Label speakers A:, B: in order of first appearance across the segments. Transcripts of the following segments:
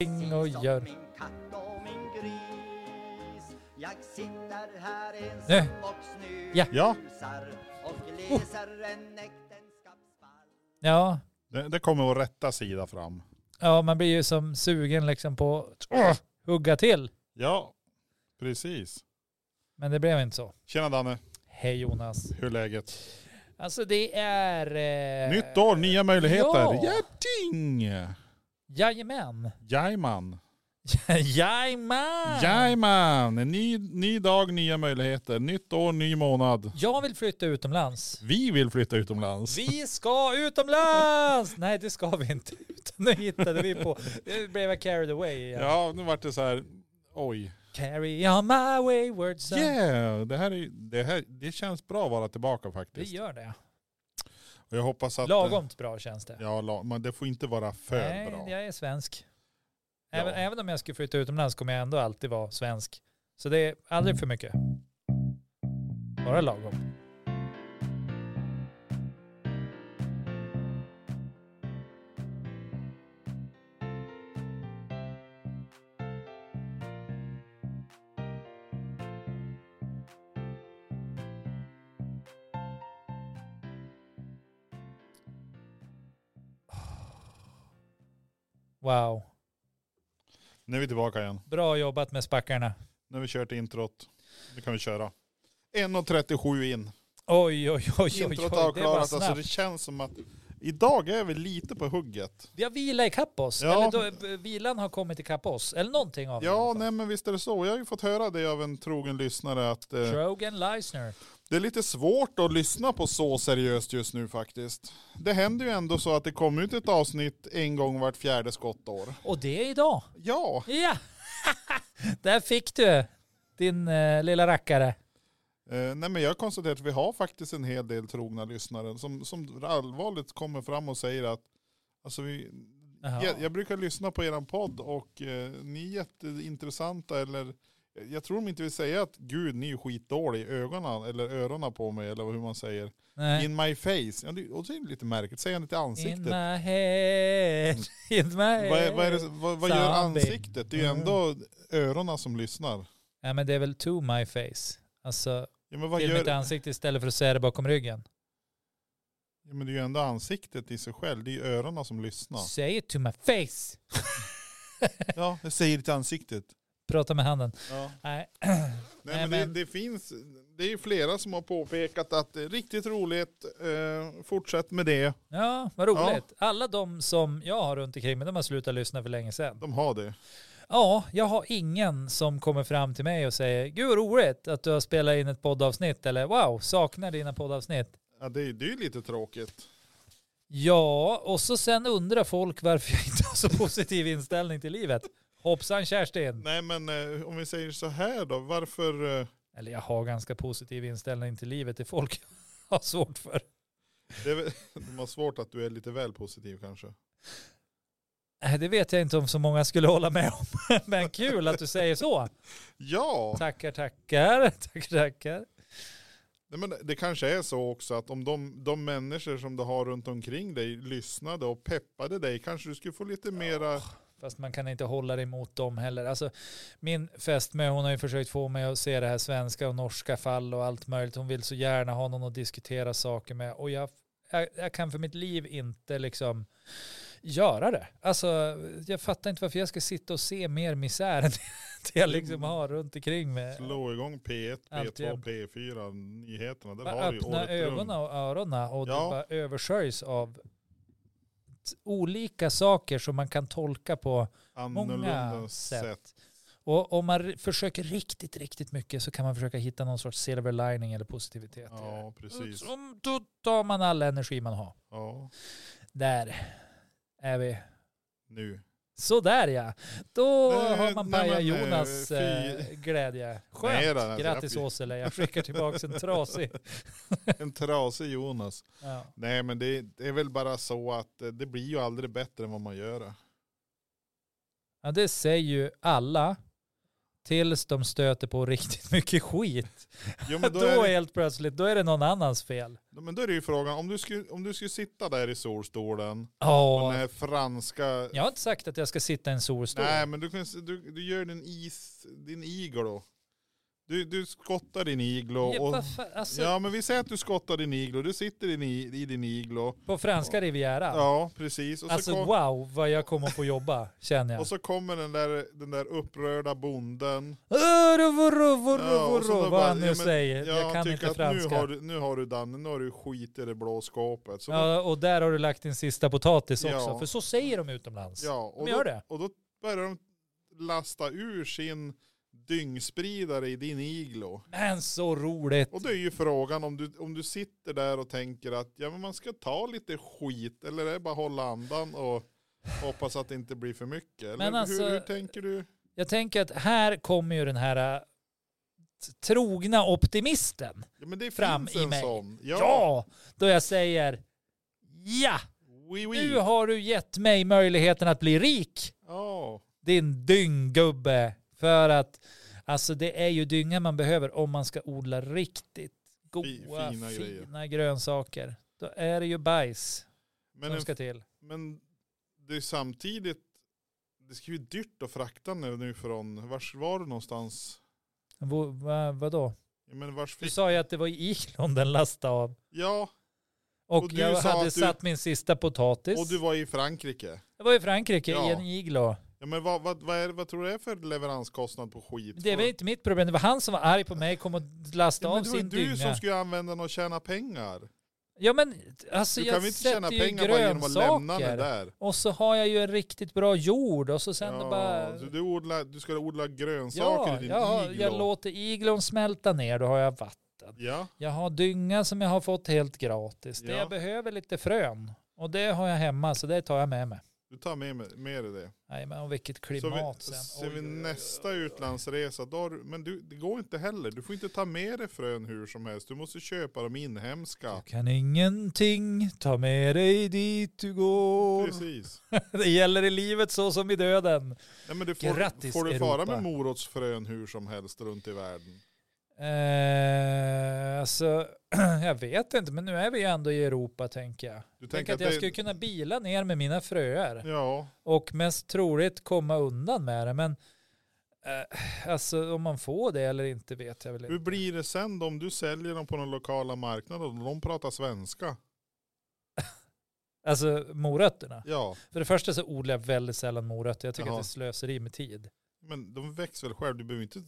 A: ting och
B: Precis som
A: gör.
B: min katt och min gris. Jag sitter här
A: Nu.
B: ensam och
A: Ja. Oh.
B: snusar
C: Ja.
B: och läser en äktenskapsbalk.
A: Ja,
C: Det, det kommer att rätta sida fram.
A: ja, man blir ju som sugen liksom på att åh, hugga till.
C: Ja, precis.
A: Men det blev inte så.
C: Tjena Danne,
A: Hej Jonas.
C: hur är läget?
A: Alltså det är... Eh...
C: Nytt år, nya möjligheter.
A: ja.
C: Ja, ding!
A: Jajamän.
C: Jajamän.
A: Jajamän.
C: Jajamän! En ny, ny dag, nya möjligheter. Nytt år, ny månad.
A: Jag vill flytta utomlands.
C: Vi vill flytta utomlands.
A: Vi ska utomlands! Nej det ska vi inte. Utan Nu hittade vi på. Nu blev jag carried away igen.
C: Ja, nu vart det så här, oj.
A: Carry on my wayward son.
C: Yeah, det här, är, det här det känns bra att vara tillbaka
A: Det
C: faktiskt.
A: gör det.
C: Och jag hoppas att...
A: Lagomt bra känns det.
C: eh, Ja, la- men det får inte vara för
A: Nej,
C: bra.
A: jag är svensk. Även,
C: Ja.
A: även om jag skulle flytta utomlands kommer jag ändå alltid vara svensk. Så det är aldrig för mycket. Bara lagom. Wow.
C: Nu är vi tillbaka igen.
A: Bra jobbat med spackarna.
C: Nu har vi kört introt. Nu kan vi köra. 1.37 in.
A: Oj, oj, oj, oj, oj,
C: Introt
A: oj det var
C: avklarat.
A: snabbt.
C: Alltså det känns som att idag är vi lite på hugget.
A: Vi har vila ikapp oss.
C: Ja.
A: Eller då, b- vilan har kommit ikapp oss. Eller någonting av det i alla
C: Ja,
A: fall.
C: nej men visst är det så. Jag har ju fått höra det av en trogen lyssnare att eh,
A: Trogan Leisner.
C: det är lite svårt att lyssna på så seriöst just nu faktiskt. Det händer ju ändå så att det kommer ut ett avsnitt en gång vart fjärde skottår.
A: Och det är idag.
C: Ja,
A: Ja! Där fick du din eh, lilla rackare.
C: eh, nej men jag konstaterar att vi har faktiskt en hel del trogna lyssnare som, som allvarligt kommer fram och säger att alltså vi,
A: Jaha.
C: Jag, jag brukar lyssna på eran podd och eh, ni är jätteintressanta eller eh, jag tror de inte vill säga att gud ni är skitdålig i ögonen eller öronen på mig eller hur man säger.
A: Nej.
C: In my face. Ja, det, och det är lite märkligt. Säger han inte
A: In
C: ansiktet?
A: my head. In my head.
C: Vad, är- vad, är det, vad, vad gör
A: Zombie.
C: ansiktet? Det är ju
A: Mm.
C: ändå öronen som lyssnar.
A: Ja, men det är väl to my face. Alltså,
C: Ja, men vad
A: till mitt
C: gör,
A: ansikte istället för att säga det bakom ryggen.
C: ja, men det är ju ändå ansiktet i sig själv. Det är ju öronen som lyssnar.
A: Say it to my face.
C: Ja, jag säger det till ansiktet.
A: Prata med handen.
C: Ja.
A: Nej.
C: Nej,
A: Nej,
C: men det,
A: men-
C: det finns, det är ju flera som har påpekat att det är riktigt roligt, eh, fortsätt med det.
A: Ja, vad roligt. Alla de som jag har runt omkring mig, de har slutat lyssna för länge sedan.
C: De har det.
A: Ja, jag har ingen som kommer fram till mig och säger Gud vad roligt att du har spelat in ett poddavsnitt eller wow, saknar dina poddavsnitt.
C: Ja, det, är- det är ju lite tråkigt.
A: Ja, och så sen undrar folk varför jag inte har så positiv inställning till livet. Hoppsan Kerstin!
C: Nej men eh, om vi säger så här då, varför, eh,
A: Eller jag har ganska positiv inställning till livet, det folk har svårt för.
C: det är väl, de har svårt att du är lite väl positiv kanske.
A: Nej, Äh, Det vet jag inte om så många skulle hålla med om, men kul att du säger så.
C: Ja,
A: Tackar, tackar, tackar, tackar.
C: Nej, men det kanske är så också att om de, de människor som du har runt omkring dig lyssnade och peppade dig kanske du skulle få lite mera,
A: Fast man kan inte hålla det emot dem heller. Alltså, min fästmö hon har ju försökt få mig att se det här svenska och norska fall och allt möjligt. Hon vill så gärna ha någon att diskutera saker med och jag, jag, jag kan för mitt liv inte liksom göra det. Alltså, jag fattar inte varför jag ska sitta och se mer misär än det jag liksom
C: Mm.
A: har runt omkring mig.
C: slå igång P1,
A: Allt
C: P2,
A: jämt.
C: P4, nyheterna. Där
A: Bara
C: har du ju
A: öppna
C: året
A: ögonen
C: runt.
A: och öronen och
C: Ja.
A: det bara översköljs av t- olika saker som man kan tolka på många
C: Annorlunda
A: sätt.
C: sätt.
A: Och om man r- försöker riktigt, riktigt mycket så kan man försöka hitta någon sorts silver lining eller positivitet. i det.
C: Ja, precis.
A: Som, då tar man all energi man har.
C: Ja,
A: Där är vi.
C: nu.
A: Sådär ja. Då
C: Nej,
A: har man
C: nej,
A: pajat
C: men, eh,
A: Jonas
C: fy-
A: eh, glädje.
C: Nej,
A: Skönt.
C: då, alltså,
A: Grattis
C: jag-
A: Åsele, jag skickar tillbaka en trasig.
C: En trasig Jonas.
A: Ja.
C: Nej men det, det är väl bara så att eh, det blir ju aldrig bättre än vad man gör det.
A: Ja, det säger ju alla Tills de stöter på riktigt mycket skit.
C: Jo, men
A: Då,
C: då är det,
A: helt plötsligt, då är det någon annans fel.
C: men då är det ju frågan, om du skulle, om du skulle sitta där i solstolen, och den
A: Ja,
C: här franska...
A: jag har inte sagt att jag ska sitta i en solstol.
C: Nej, men du, kan, du, du gör din is, din iglo. Du, du skottar din iglo.
A: Ja,
C: Och,
A: vad fan, alltså,
C: ja, men vi säger att du skottar din iglo. Du sitter i, din i- i din iglo.
A: På franska rivieran.
C: Ja, precis. Och så,
A: alltså
C: kom,
A: wow, vad jag kommer få jobba, känner jag.
C: och så kommer den där, den där upprörda bonden.
A: Öro, vorro,
C: Ja,
A: vorro,
C: och så
A: vorro,
C: då
A: vad
C: bara,
A: han nu
C: ja, men-
A: säger.
C: Ja,
A: jag
C: han
A: kan
C: tycker
A: inte
C: att Nu
A: franska.
C: har, du- nu har du Danne, nu har du skit i det blå skåpet. Så då,
A: Ja, och där har du lagt din sista potatis också,
C: Ja.
A: för så säger de utomlands.
C: ja, och,
A: de gör
C: då,
A: det.
C: och då börjar de lasta ur sin dyngspridare i din iglo.
A: Men så roligt!
C: Och det är ju frågan om du, om du sitter där och tänker att ja, men man ska ta lite skit eller är det bara hålla andan och hoppas att det inte blir för mycket. Eller
A: Men alltså-
C: hur, hur tänker du?
A: Jag tänker att här kommer ju den här äh, t- trogna optimisten.
C: Ja, men det
A: Fram
C: finns
A: i
C: en
A: mig.
C: sån.
A: Ja! Då jag säger ja,
C: Oui, oui.
A: nu har du gett mig möjligheten att bli rik,
C: Ja.
A: din dynggubbe. För att alltså det är ju dynga man behöver om man ska odla riktigt goda,
C: fina
A: fina,
C: grejer.
A: grönsaker. Då är det ju bajs
C: Men,
A: som
C: en,
A: ska till.
C: men det är samtidigt, det ska ju bli dyrt att frakta nu nu från, vars var du någonstans?
A: Vad, va, vadå?
C: Ja, men vars
A: Du
C: fick,
A: sa ju att det var i Iklund den lastade av.
C: ja,
A: Och,
C: Och du
A: jag
C: sa
A: hade
C: att du-
A: satt min sista potatis.
C: och du var i Frankrike.
A: Jag var i Frankrike
C: Ja.
A: i en iglo.
C: Ja, men vad, vad, vad, är, vad tror du det är för leveranskostnad på skit?
A: Men Det var inte mitt problem, det var han som var arg på mig, kom och lastade
C: Ja,
A: av
C: men det var ju
A: sin
C: du som
A: dynga.
C: skulle anvälla den och tjäna pengar.
A: Ja men alltså
C: Du
A: jag
C: kan väl inte tjäna
A: sätter ju
C: pengar bara genom att lämna den
A: grönsaker.
C: där?
A: Och så har jag ju en riktigt bra jord och så sen
C: Ja,
A: ja, bara...
C: du, du, odlar, du ska odla grönsaker
A: Ja,
C: i din
A: jag, har-
C: iglo.
A: jag låter iglon smälta ner, då har jag vatten.
C: Ja,
A: Jag har dynga som jag har fått helt gratis. Det
C: Ja.
A: jag behöver lite frön. Och det har jag hemma, så det tar jag med mig.
C: du tar med, mig- med dig det.
A: Nej men och vilket
C: Så
A: klimat
C: vi,
A: sen.
C: ser
A: Oj,
C: vi
A: oj, oj.
C: nästa utlandsresa, då har, du- men du, det går inte heller. Du får inte ta med dig frön hur som helst. Du måste köpa de inhemska.
A: Du kan ingenting ta med dig dit du går.
C: Precis.
A: Det gäller i livet så som i döden.
C: Nej, men du får,
A: Grattis,
C: får du fara
A: Europa.
C: med morotsfrön hur som helst runt i världen?
A: Eh, alltså, jag vet inte, men nu är vi ju ändå i Europa tänker jag.
C: Du
A: Tänk att jag skulle kunna bila ner med mina fröer
C: Ja,
A: och mest troligt komma undan med det. Men eh, alltså om man får det eller inte vet jag väl
C: hur
A: inte.
C: blir det sen då om du säljer dem på den lokala marknaden och de pratar svenska?
A: Alltså morötterna.
C: Ja.
A: För det första så odlar jag väldigt sällan morötter. Jag tycker
C: Jaha.
A: att det slösar i med tid.
C: Men de växer väl själv, du behöver inte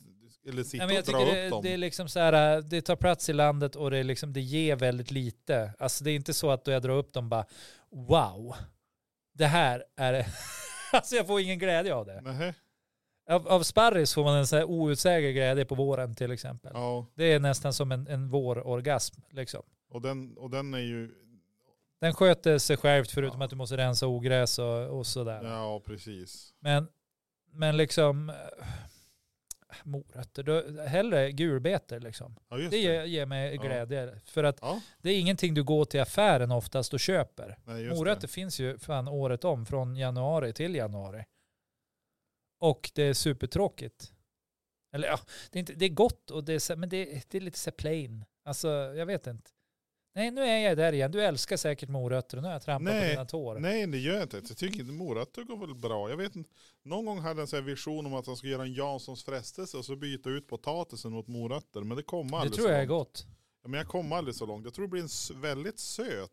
C: eller
A: Nej,
C: sitta
A: men jag
C: och dra upp
A: tycker det,
C: dem.
A: det är liksom så här, äh, det tar plats i landet och det, är liksom, det ger väldigt lite. Alltså det är inte så att då jag drar upp dem bara, wow, det här är, alltså jag får ingen glädje av det.
C: Nähä.
A: Av, av sparris får man en så här outsäglig glädje på våren till exempel.
C: Ja,
A: Det är nästan som en, en vårorgasm liksom.
C: och den, och den är ju,
A: Den sköter sig självt förutom
C: Ja.
A: att du måste rensa ogräs och, och sådär.
C: ja precis.
A: Men, men liksom, äh, morötter, då, hellre gulbetor liksom.
C: Ja just
A: Det
C: det.
A: ger, ger mig
C: Ja.
A: glädje. För att
C: Ja,
A: det är ingenting du går till affären oftast och köper.
C: nej, just
A: Morötter finns ju fan året om, från januari till januari. Och det är supertråkigt. Eller ja, det är, inte, det är gott, och det är, så- men det, det är lite så här plain. Alltså, jag vet inte. Nej, nu är jag där igen. Du älskar säkert morötter och nu har jag trampat på
C: Nej,
A: dina tår.
C: det. Nej det gör jag inte. Jag tycker inte morötter går väl bra. Jag vet inte. Någon gång hade jag en sån här vision om att han skulle göra en Janssons frestelse och så byta ut potatisen mot morötter. Men det kom
A: det
C: aldrig
A: tror jag
C: så
A: är
C: långt.
A: gott.
C: Ja, men jag kom aldrig så långt. Jag tror det blir en s- väldigt söt.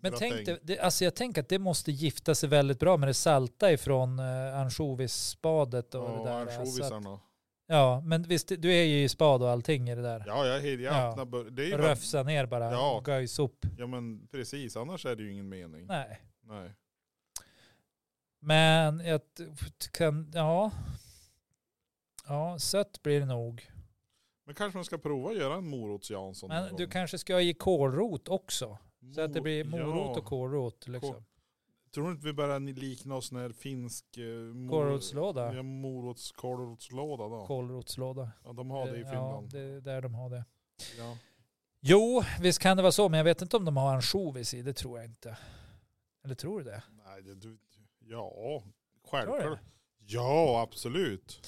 A: Men
C: Bra
A: tänk
C: tänk.
A: dig, det, alltså jag tänker att det måste gifta sig väldigt bra med det salta ifrån eh, ansjovisspadet och
C: Ja,
A: det där. Alltså att-
C: ansjovisarna.
A: Ja, men visst, du är ju i spad och allting i det där.
C: Ja, jag, jag, jag
A: Ja.
C: öppnar bör- det är ju bara,
A: Röfsa ner bara,
C: Ja.
A: ja. göj upp.
C: Ja men precis, annars är det ju ingen mening.
A: Nej.
C: Nej.
A: Men jag t- kan, ja. Ja, sött blir det nog.
C: Men kanske man ska prova att göra en morots Jansson. någon
A: Men du
C: gång.
A: kanske ska i kålrot också. Så att det
C: Mo-
A: blir morot
C: Ja.
A: och kålrot. Liksom.
C: Tror du inte vi börjar likna oss när finsk... eh, mor-
A: Kålrotslåda.
C: Ja, morots, kålrotslåda då.
A: Kålrotslåda.
C: Ja, de har det i
A: Ja,
C: Finland.
A: det är där de har det.
C: Ja.
A: Jo, visst kan det vara så, men jag vet inte om de har ansjovis i. Det tror jag inte. Eller tror du det?
C: Nej, det, du, ja
A: Tror du
C: självklart.
A: det?
C: Ja, absolut.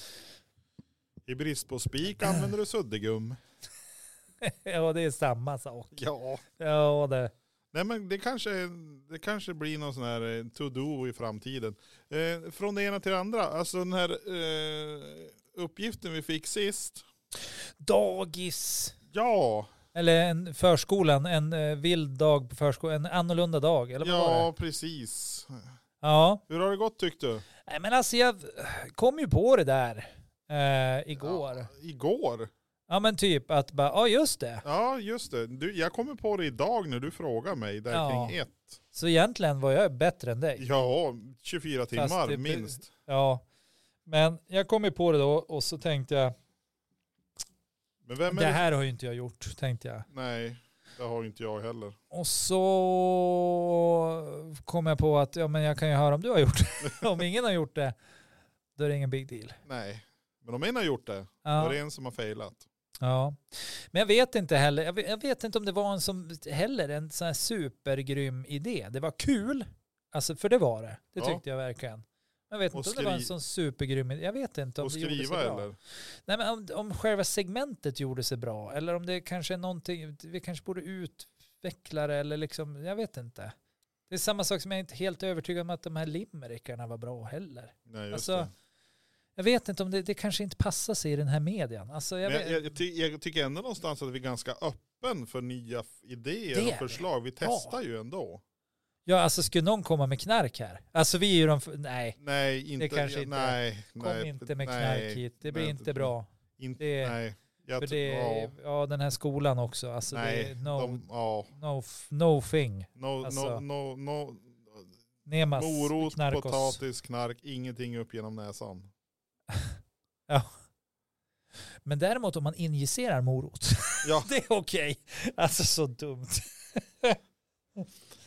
C: I brist på spik använder du suddgum.
A: ja, det är samma sak.
C: Ja.
A: Ja, det.
C: Nej men det kanske, det kanske blir någon sån här eh, to-do i framtiden. Eh, från det ena till det andra. Alltså den här eh, uppgiften vi fick sist.
A: Dagis.
C: Ja,
A: Eller en förskolan, en eh, vild dag på förskolan, en annorlunda dag. Eller vad var det?
C: ja precis.
A: Ja.
C: Hur har det gått tyckte du?
A: Nej, men alltså jag kom ju på det där eh, igår. Ja.
C: Ja, igår?
A: men typ att bara, ja just det.
C: Ja just det. Du, jag kommer på det idag när du frågar mig där
A: Ja.
C: kring ett.
A: Så egentligen var jag bättre än dig.
C: Ja, 24 timmar
A: det-
C: minst.
A: Ja. Men jag kom ju på det då och så tänkte jag,
C: Men vem är
A: det
C: det?
A: här har ju inte jag gjort, tänkte jag.
C: Nej, det har ju inte jag heller.
A: Och så kom jag på att ja, men jag kan ju höra om du har gjort det. om ingen har gjort det, då är det ingen big deal.
C: Nej, men om en har gjort det, då är
A: Ja,
C: det en som har failat.
A: ja. Men jag vet inte heller, jag vet, jag vet inte om det var en som heller en sån här supergrym idé. Det var kul, alltså, för det var det. Det
C: Ja.
A: tyckte jag verkligen. Men jag vet
C: Och
A: inte om det var en
C: skri-
A: sån supergrym idé. Jag vet inte om
C: Och
A: det gjorde sig
C: skriva
A: bra.
C: eller?
A: Nej, men om, om själva segmentet gjorde sig bra eller om det kanske är någonting, vi kanske borde utveckla det eller liksom, jag vet inte. Det är samma sak som jag är inte helt övertygad om att de här limerickarna var bra heller.
C: Nej, just
A: Alltså, Jag vet inte om det, det kanske inte passar sig i den här median. Alltså,
C: det.
A: jag
C: Men
A: vet,
C: jag, jag, jag, ty- jag tycker ändå någonstans att vi är ganska öppen för nya f-
A: Det är
C: idéer
A: vi.
C: och förslag. Vi testar ju ändå.
A: ja, alltså skulle någon komma med knark här? Alltså vi är ju de, f- nej,
C: Nej, inte.
A: kanske inte-
C: Nej,
A: kom
C: nej,
A: inte med
C: nej,
A: knark hit, det blir
C: nej,
A: inte bra.
C: Inte,
A: Det är-
C: nej, jag
A: För
C: ty-
A: det,
C: ja,
A: ja den här skolan också, alltså det
C: nej,
A: är no,
C: de, ja,
A: no, f- no thing.
C: no,
A: Alltså,
C: no, no, no,
A: Nemas,
C: morot,
A: knarkos.
C: potatis, knark, ingenting upp genom näsan.
A: Men däremot om man injicerar morot,
C: Ja.
A: det är okej. Alltså så dumt.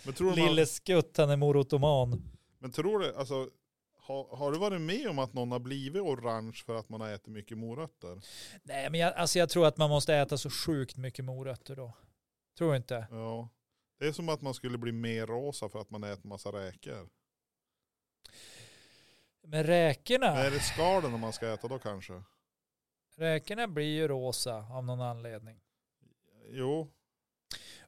C: Men tror du man,
A: Lille Skutt, han är morotoman.
C: Men tror du, alltså, har, har du varit med om att någon har blivit orange för att man har ätit mycket morötter?
A: Nej, men jag, alltså jag tror att man måste äta så sjukt mycket morötter då. Tror du inte?
C: Ja. Det är som att man skulle bli mer rosa för att man äter massa räkor.
A: Men räkorna,
C: Men är det skalen man ska äta då kanske?
A: räkorna blir ju rosa av någon anledning.
C: Jo,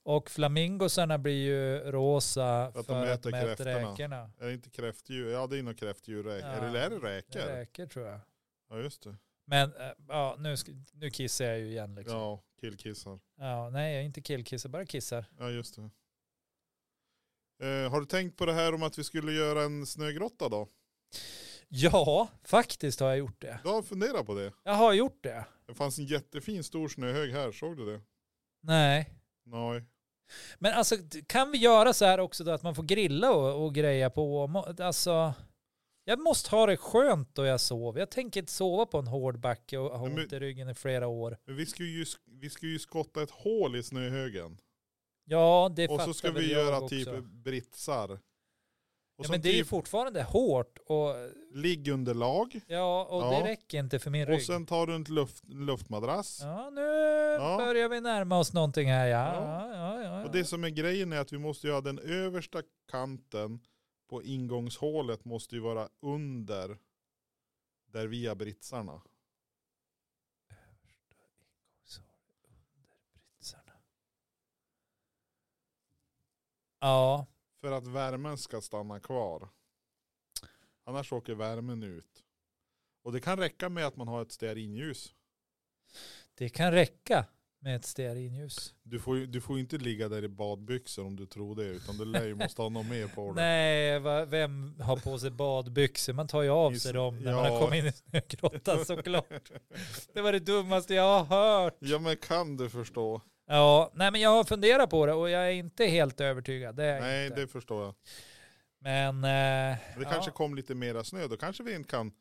A: Och flamingosarna blir ju rosa för
C: de
A: att de äter,
C: äter kräftorna.
A: räkorna.
C: är det inte kräftdjur? Ja det är nog kräftdjur. räk-
A: Ja.
C: Eller är det
A: Det
C: räkor?
A: är räkor tror jag.
C: Ja just det.
A: Men eh, ja, nu, sk- nu kissar jag ju igen liksom. Ja.
C: Ja, killkissar.
A: nej, jag är inte killkissar, bara kissar.
C: Ja just det. Eh, har du tänkt på det här om att vi skulle göra en snögrotta då?
A: Ja, faktiskt har jag gjort det.
C: Du har funderat på det.
A: Jag har gjort det.
C: Det fanns en jättefin stor snöhög här, såg du det?
A: Nej.
C: Nej.
A: Men alltså kan vi göra så här också då att man får grilla och, och greja på? Må- Alltså, jag måste ha det skönt då jag sover. Jag tänker inte sova på en hård backe och ha
C: Men-
A: ont i ryggen i flera år.
C: Men vi ska ju, vi ska ju skotta ett hål i snöhögen.
A: Ja, det
C: Och
A: fattar
C: så ska
A: väl
C: vi
A: jag
C: göra
A: också.
C: typ britsar.
A: Ja,
C: Och som
A: men det är ju
C: typ
A: fortfarande hårt och,
C: liggunderlag.
A: ja, och
C: Ja.
A: det räcker inte för min
C: Och
A: rygg.
C: sen tar du en luft, luftmadrass.
A: Ja, nu
C: Ja.
A: börjar vi närma oss någonting här. Ja, ja, ja.
C: Ja.
A: ja,
C: Och det som är grejen är att vi måste göra den översta kanten på ingångshålet måste ju vara under där vi har britsarna.
A: ja.
C: För att värmen ska stanna kvar. Annars åker värmen ut. Och det kan räcka med att man har ett stearinljus.
A: det kan räcka med ett stearinljus.
C: Du får, ju- du får ju inte ligga där i badbyxor om du tror det, utan du lär ju måste ha något mer på dig.
A: Nej, va, vem har på sig badbyxor? Man tar ju av sig
C: Just-
A: dem när
C: ja.
A: man har kommit in i snögrottan såklart. Det var det dummaste jag har hört.
C: Ja men kan du förstå?
A: Ja, nej men jag har funderat på det och jag är inte helt övertygad. Det är jag
C: Nej
A: inte.
C: det förstår jag.
A: Men eh,
C: Men det
A: Ja.
C: kanske kom lite mera snö, då kanske vi inte kan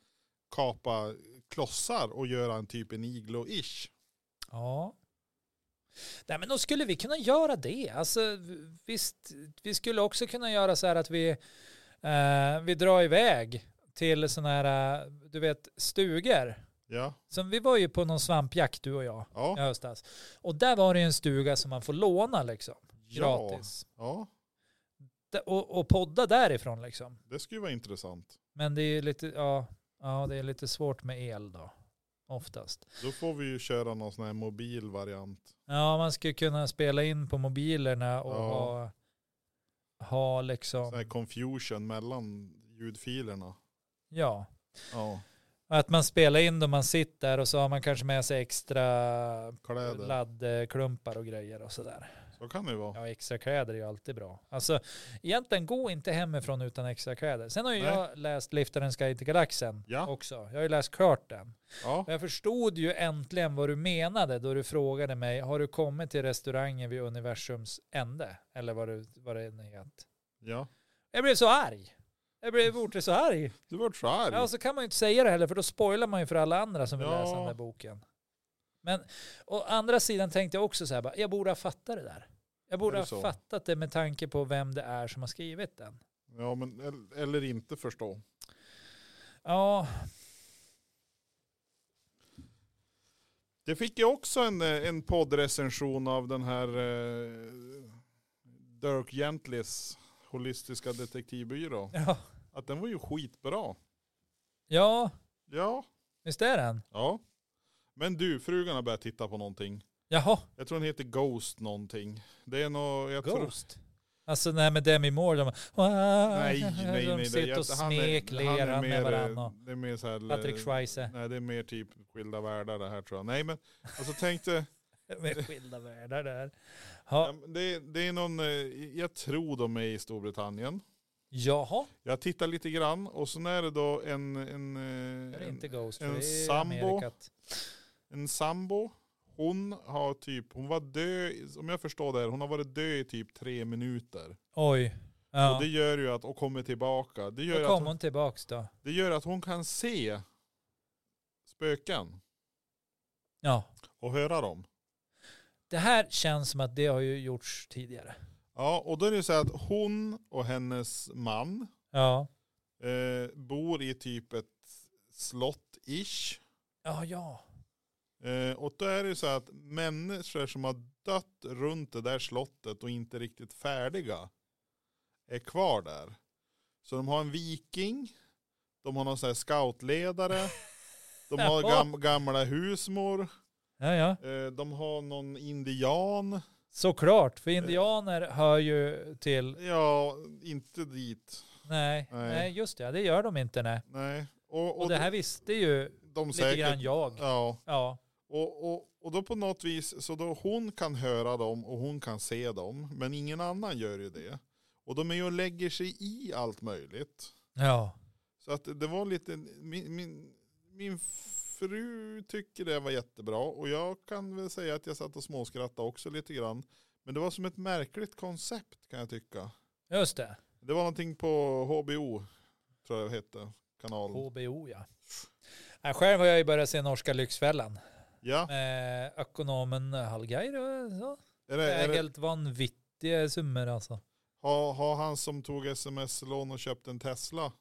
C: kapa klossar och göra en typ en iglo-ish.
A: ja. Nej men då skulle vi kunna göra det. Alltså visst, vi skulle också kunna göra så här att vi, eh, vi drar iväg till sådana här, eh, du vet, stugor.
C: Ja,
A: Som vi var ju på någon svampjakt du och jag.
C: ja,
A: i höstas. Och där var det ju en stuga som man får låna liksom,
C: ja,
A: gratis.
C: ja,
A: D- Och, och podda därifrån liksom.
C: det skulle ju vara intressant.
A: Men det är ju lite, ja, ja, det är lite svårt med el då. oftast.
C: Då får vi ju köra någon sån här mobil variant.
A: Ja, man skulle kunna spela in på mobilerna och
C: Ja.
A: ha, ha
C: Sån här
A: liksom,
C: confusion mellan ljudfilerna.
A: ja.
C: Ja,
A: Att man spelar in då man sitter och så har man kanske med sig extra
C: kläder.
A: laddklumpar och grejer och sådär.
C: Så kan det ju vara.
A: Ja, extra kläder är ju alltid bra. Alltså, egentligen gå inte hemifrån utan extra kläder. Sen har ju
C: Nej.
A: jag läst Liftarens guide till galaxen
C: Ja.
A: också. Jag har ju läst klart den.
C: Ja,
A: Och jag förstod ju äntligen vad du menade då du frågade mig, har du kommit till restaurangen vid universums ände? Eller vad, du, vad det nu heter.
C: ja.
A: Jag blev så arg. Jag blev bortre så arg.
C: Du vart så arg.
A: Ja, så kan man ju inte säga det heller, för då spoilar man ju för alla andra som vill
C: Ja.
A: läsa den där boken. Men å andra sidan tänkte jag också så här, bara, jag borde ha fattat det där. Jag borde
C: Är
A: ha
C: det så?
A: fattat det med tanke på vem det är som har skrivit den.
C: Ja, men el- eller inte förstå.
A: Ja,
C: Det fick ju också en, eh, en poddrecension av den här eh, Dirk Gentlys holistiska detektivbyrå.
A: ja,
C: Att den var ju skitbra.
A: ja
C: Ja,
A: visst är den?
C: ja. Men du, frugan har börjat titta på någonting.
A: Jaha,
C: Jag tror den heter Ghost någonting. Det är nog, jag tror...
A: Ghost. Alltså nej med Demi Moore, de,
C: Nej, nej, nej.
A: de
C: det-
A: sitter och
C: jag- han är- han är
A: smeklerar med
C: mer, eh,
A: varandra. och
C: Det är mer så här...
A: Patrick
C: eh,
A: Schweizer
C: Nej, det är mer typ skilda världar det här tror jag. Nej, men alltså tänkte...
A: med skilda världar där.
C: ja,
A: Ja,
C: men det, det är någon... eh, Jag tror de är i Storbritannien.
A: jaha,
C: Jag tittar lite grann och sen är det då en, en,
A: det
C: eh,
A: är inte
C: en,
A: Ghost, för
C: en
A: det är
C: sambo.
A: Amerikat.
C: en sambo. Hon har typ, hon var död, om jag förstår det här, hon har varit död i typ tre minuter.
A: Oj. Ja.
C: Och det gör ju att, och kommer tillbaka. Det gör,
A: Då
C: att
A: kom
C: hon,
A: hon tillbaks då.
C: det gör att hon kan se spöken
A: Ja.
C: och höra dem.
A: Det här känns som att det har ju gjorts tidigare.
C: Ja, och då är det ju så här att hon och hennes man
A: Ja.
C: eh, bor i typ ett slott-ish.
A: Ja, ja.
C: Eh, och då är det ju så att människor som har dött runt det där slottet och inte riktigt färdiga är kvar där. Så de har en viking, de har någon sån här scoutledare, de har gam, gamla husmor,
A: Ja, ja.
C: eh, de har någon indian.
A: Såklart, för indianer hör ju till...
C: Ja, inte dit.
A: Nej, nej.
C: Nej.
A: just det. Det gör de inte, nej.
C: Nej. Och,
A: Och det här visste ju
C: de, de
A: lite
C: säkert,
A: grann jag.
C: Ja.
A: Ja.
C: Och, och, och då på något vis, så då hon kan höra dem och hon kan se dem, men ingen annan gör ju det. Och de är ju och lägger sig i allt möjligt.
A: Ja.
C: Så att det var lite, min, min, min fru tycker det var jättebra och jag kan väl säga att jag satt och småskrattade också lite grann. Men det var som ett märkligt koncept kan jag tycka.
A: Just det.
C: Det var någonting på HBO, tror jag det hette, kanalen.
A: HBO, ja. Ja, Själv har jag ju börjat se norska Lyxfällan
C: Ja,
A: med ekonomen Hallgeir och så.
C: är det, är det,
A: Ägelt vanvittiga summor alltså.
C: har, har han som tog sms-lån och köpt en Tesla?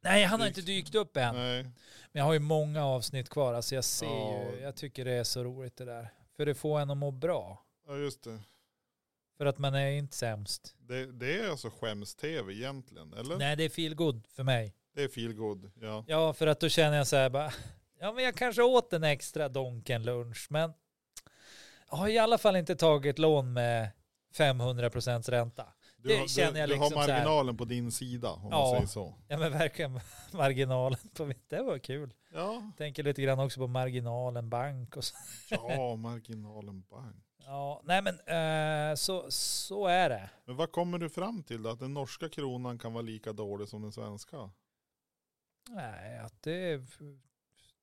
A: Nej, han har
C: Dykt.
A: inte dykt upp än.
C: Nej.
A: Men jag har ju många avsnitt kvar, alltså jag ser
C: Ja.
A: ju, jag tycker det är så roligt det där. För det får en att må bra.
C: Ja just det.
A: För att man är inte sämst.
C: Det, det är alltså skäms-tv egentligen, eller?
A: Nej, det är feel good för mig.
C: Det är feel good, ja.
A: Ja, för att då känner jag så här bara, ja men jag kanske åt en extra donken lunch, men jag har i alla fall inte tagit lån med 500% ränta.
C: Du,
A: Det
C: har-
A: känner
C: du,
A: jag
C: du
A: liksom
C: har
A: så här.
C: marginalen på din sida, om
A: Ja.
C: man säger så.
A: Ja men verkligen marginalen på mitt, det var kul.
C: Ja,
A: Tänker lite grann också på marginalen bank och så.
C: ja marginalen bank.
A: Ja, nej men eh, så, så är det.
C: Men vad kommer du fram till då? Att den norska kronan kan vara lika dålig som den svenska?
A: Nej, att det är,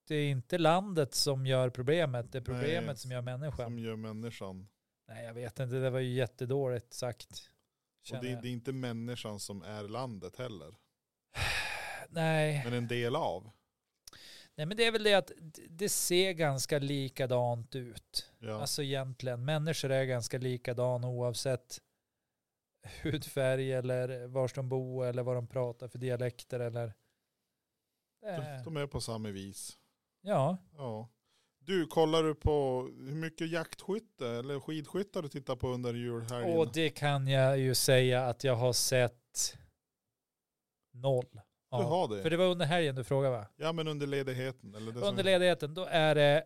A: det är inte landet som gör problemet, det är problemet
C: Nej,
A: som gör människan.
C: Som gör människan.
A: Nej, jag vet inte, det var ju jättedåligt sagt.
C: Och
A: känner
C: det,
A: jag.
C: det är inte människan som är landet heller.
A: Nej.
C: Men en del av.
A: Nej, men det är väl det att d- det ser ganska likadant ut.
C: Ja,
A: Alltså egentligen, människor är ganska likadana oavsett hudfärg eller var de bor eller vad de pratar för dialekter eller...
C: de,
A: Eh,
C: de är på samma vis.
A: Ja,
C: Ja. Du, kollar du på hur mycket jaktskytte eller skidskytte har du tittat på under julhelgen?
A: och det kan jag ju säga att jag har sett noll.
C: Du
A: Ja.
C: har
A: För
C: det.
A: det var under helgen du frågade va?
C: Ja men under ledigheten. Eller det som-
A: Under ledigheten, då är det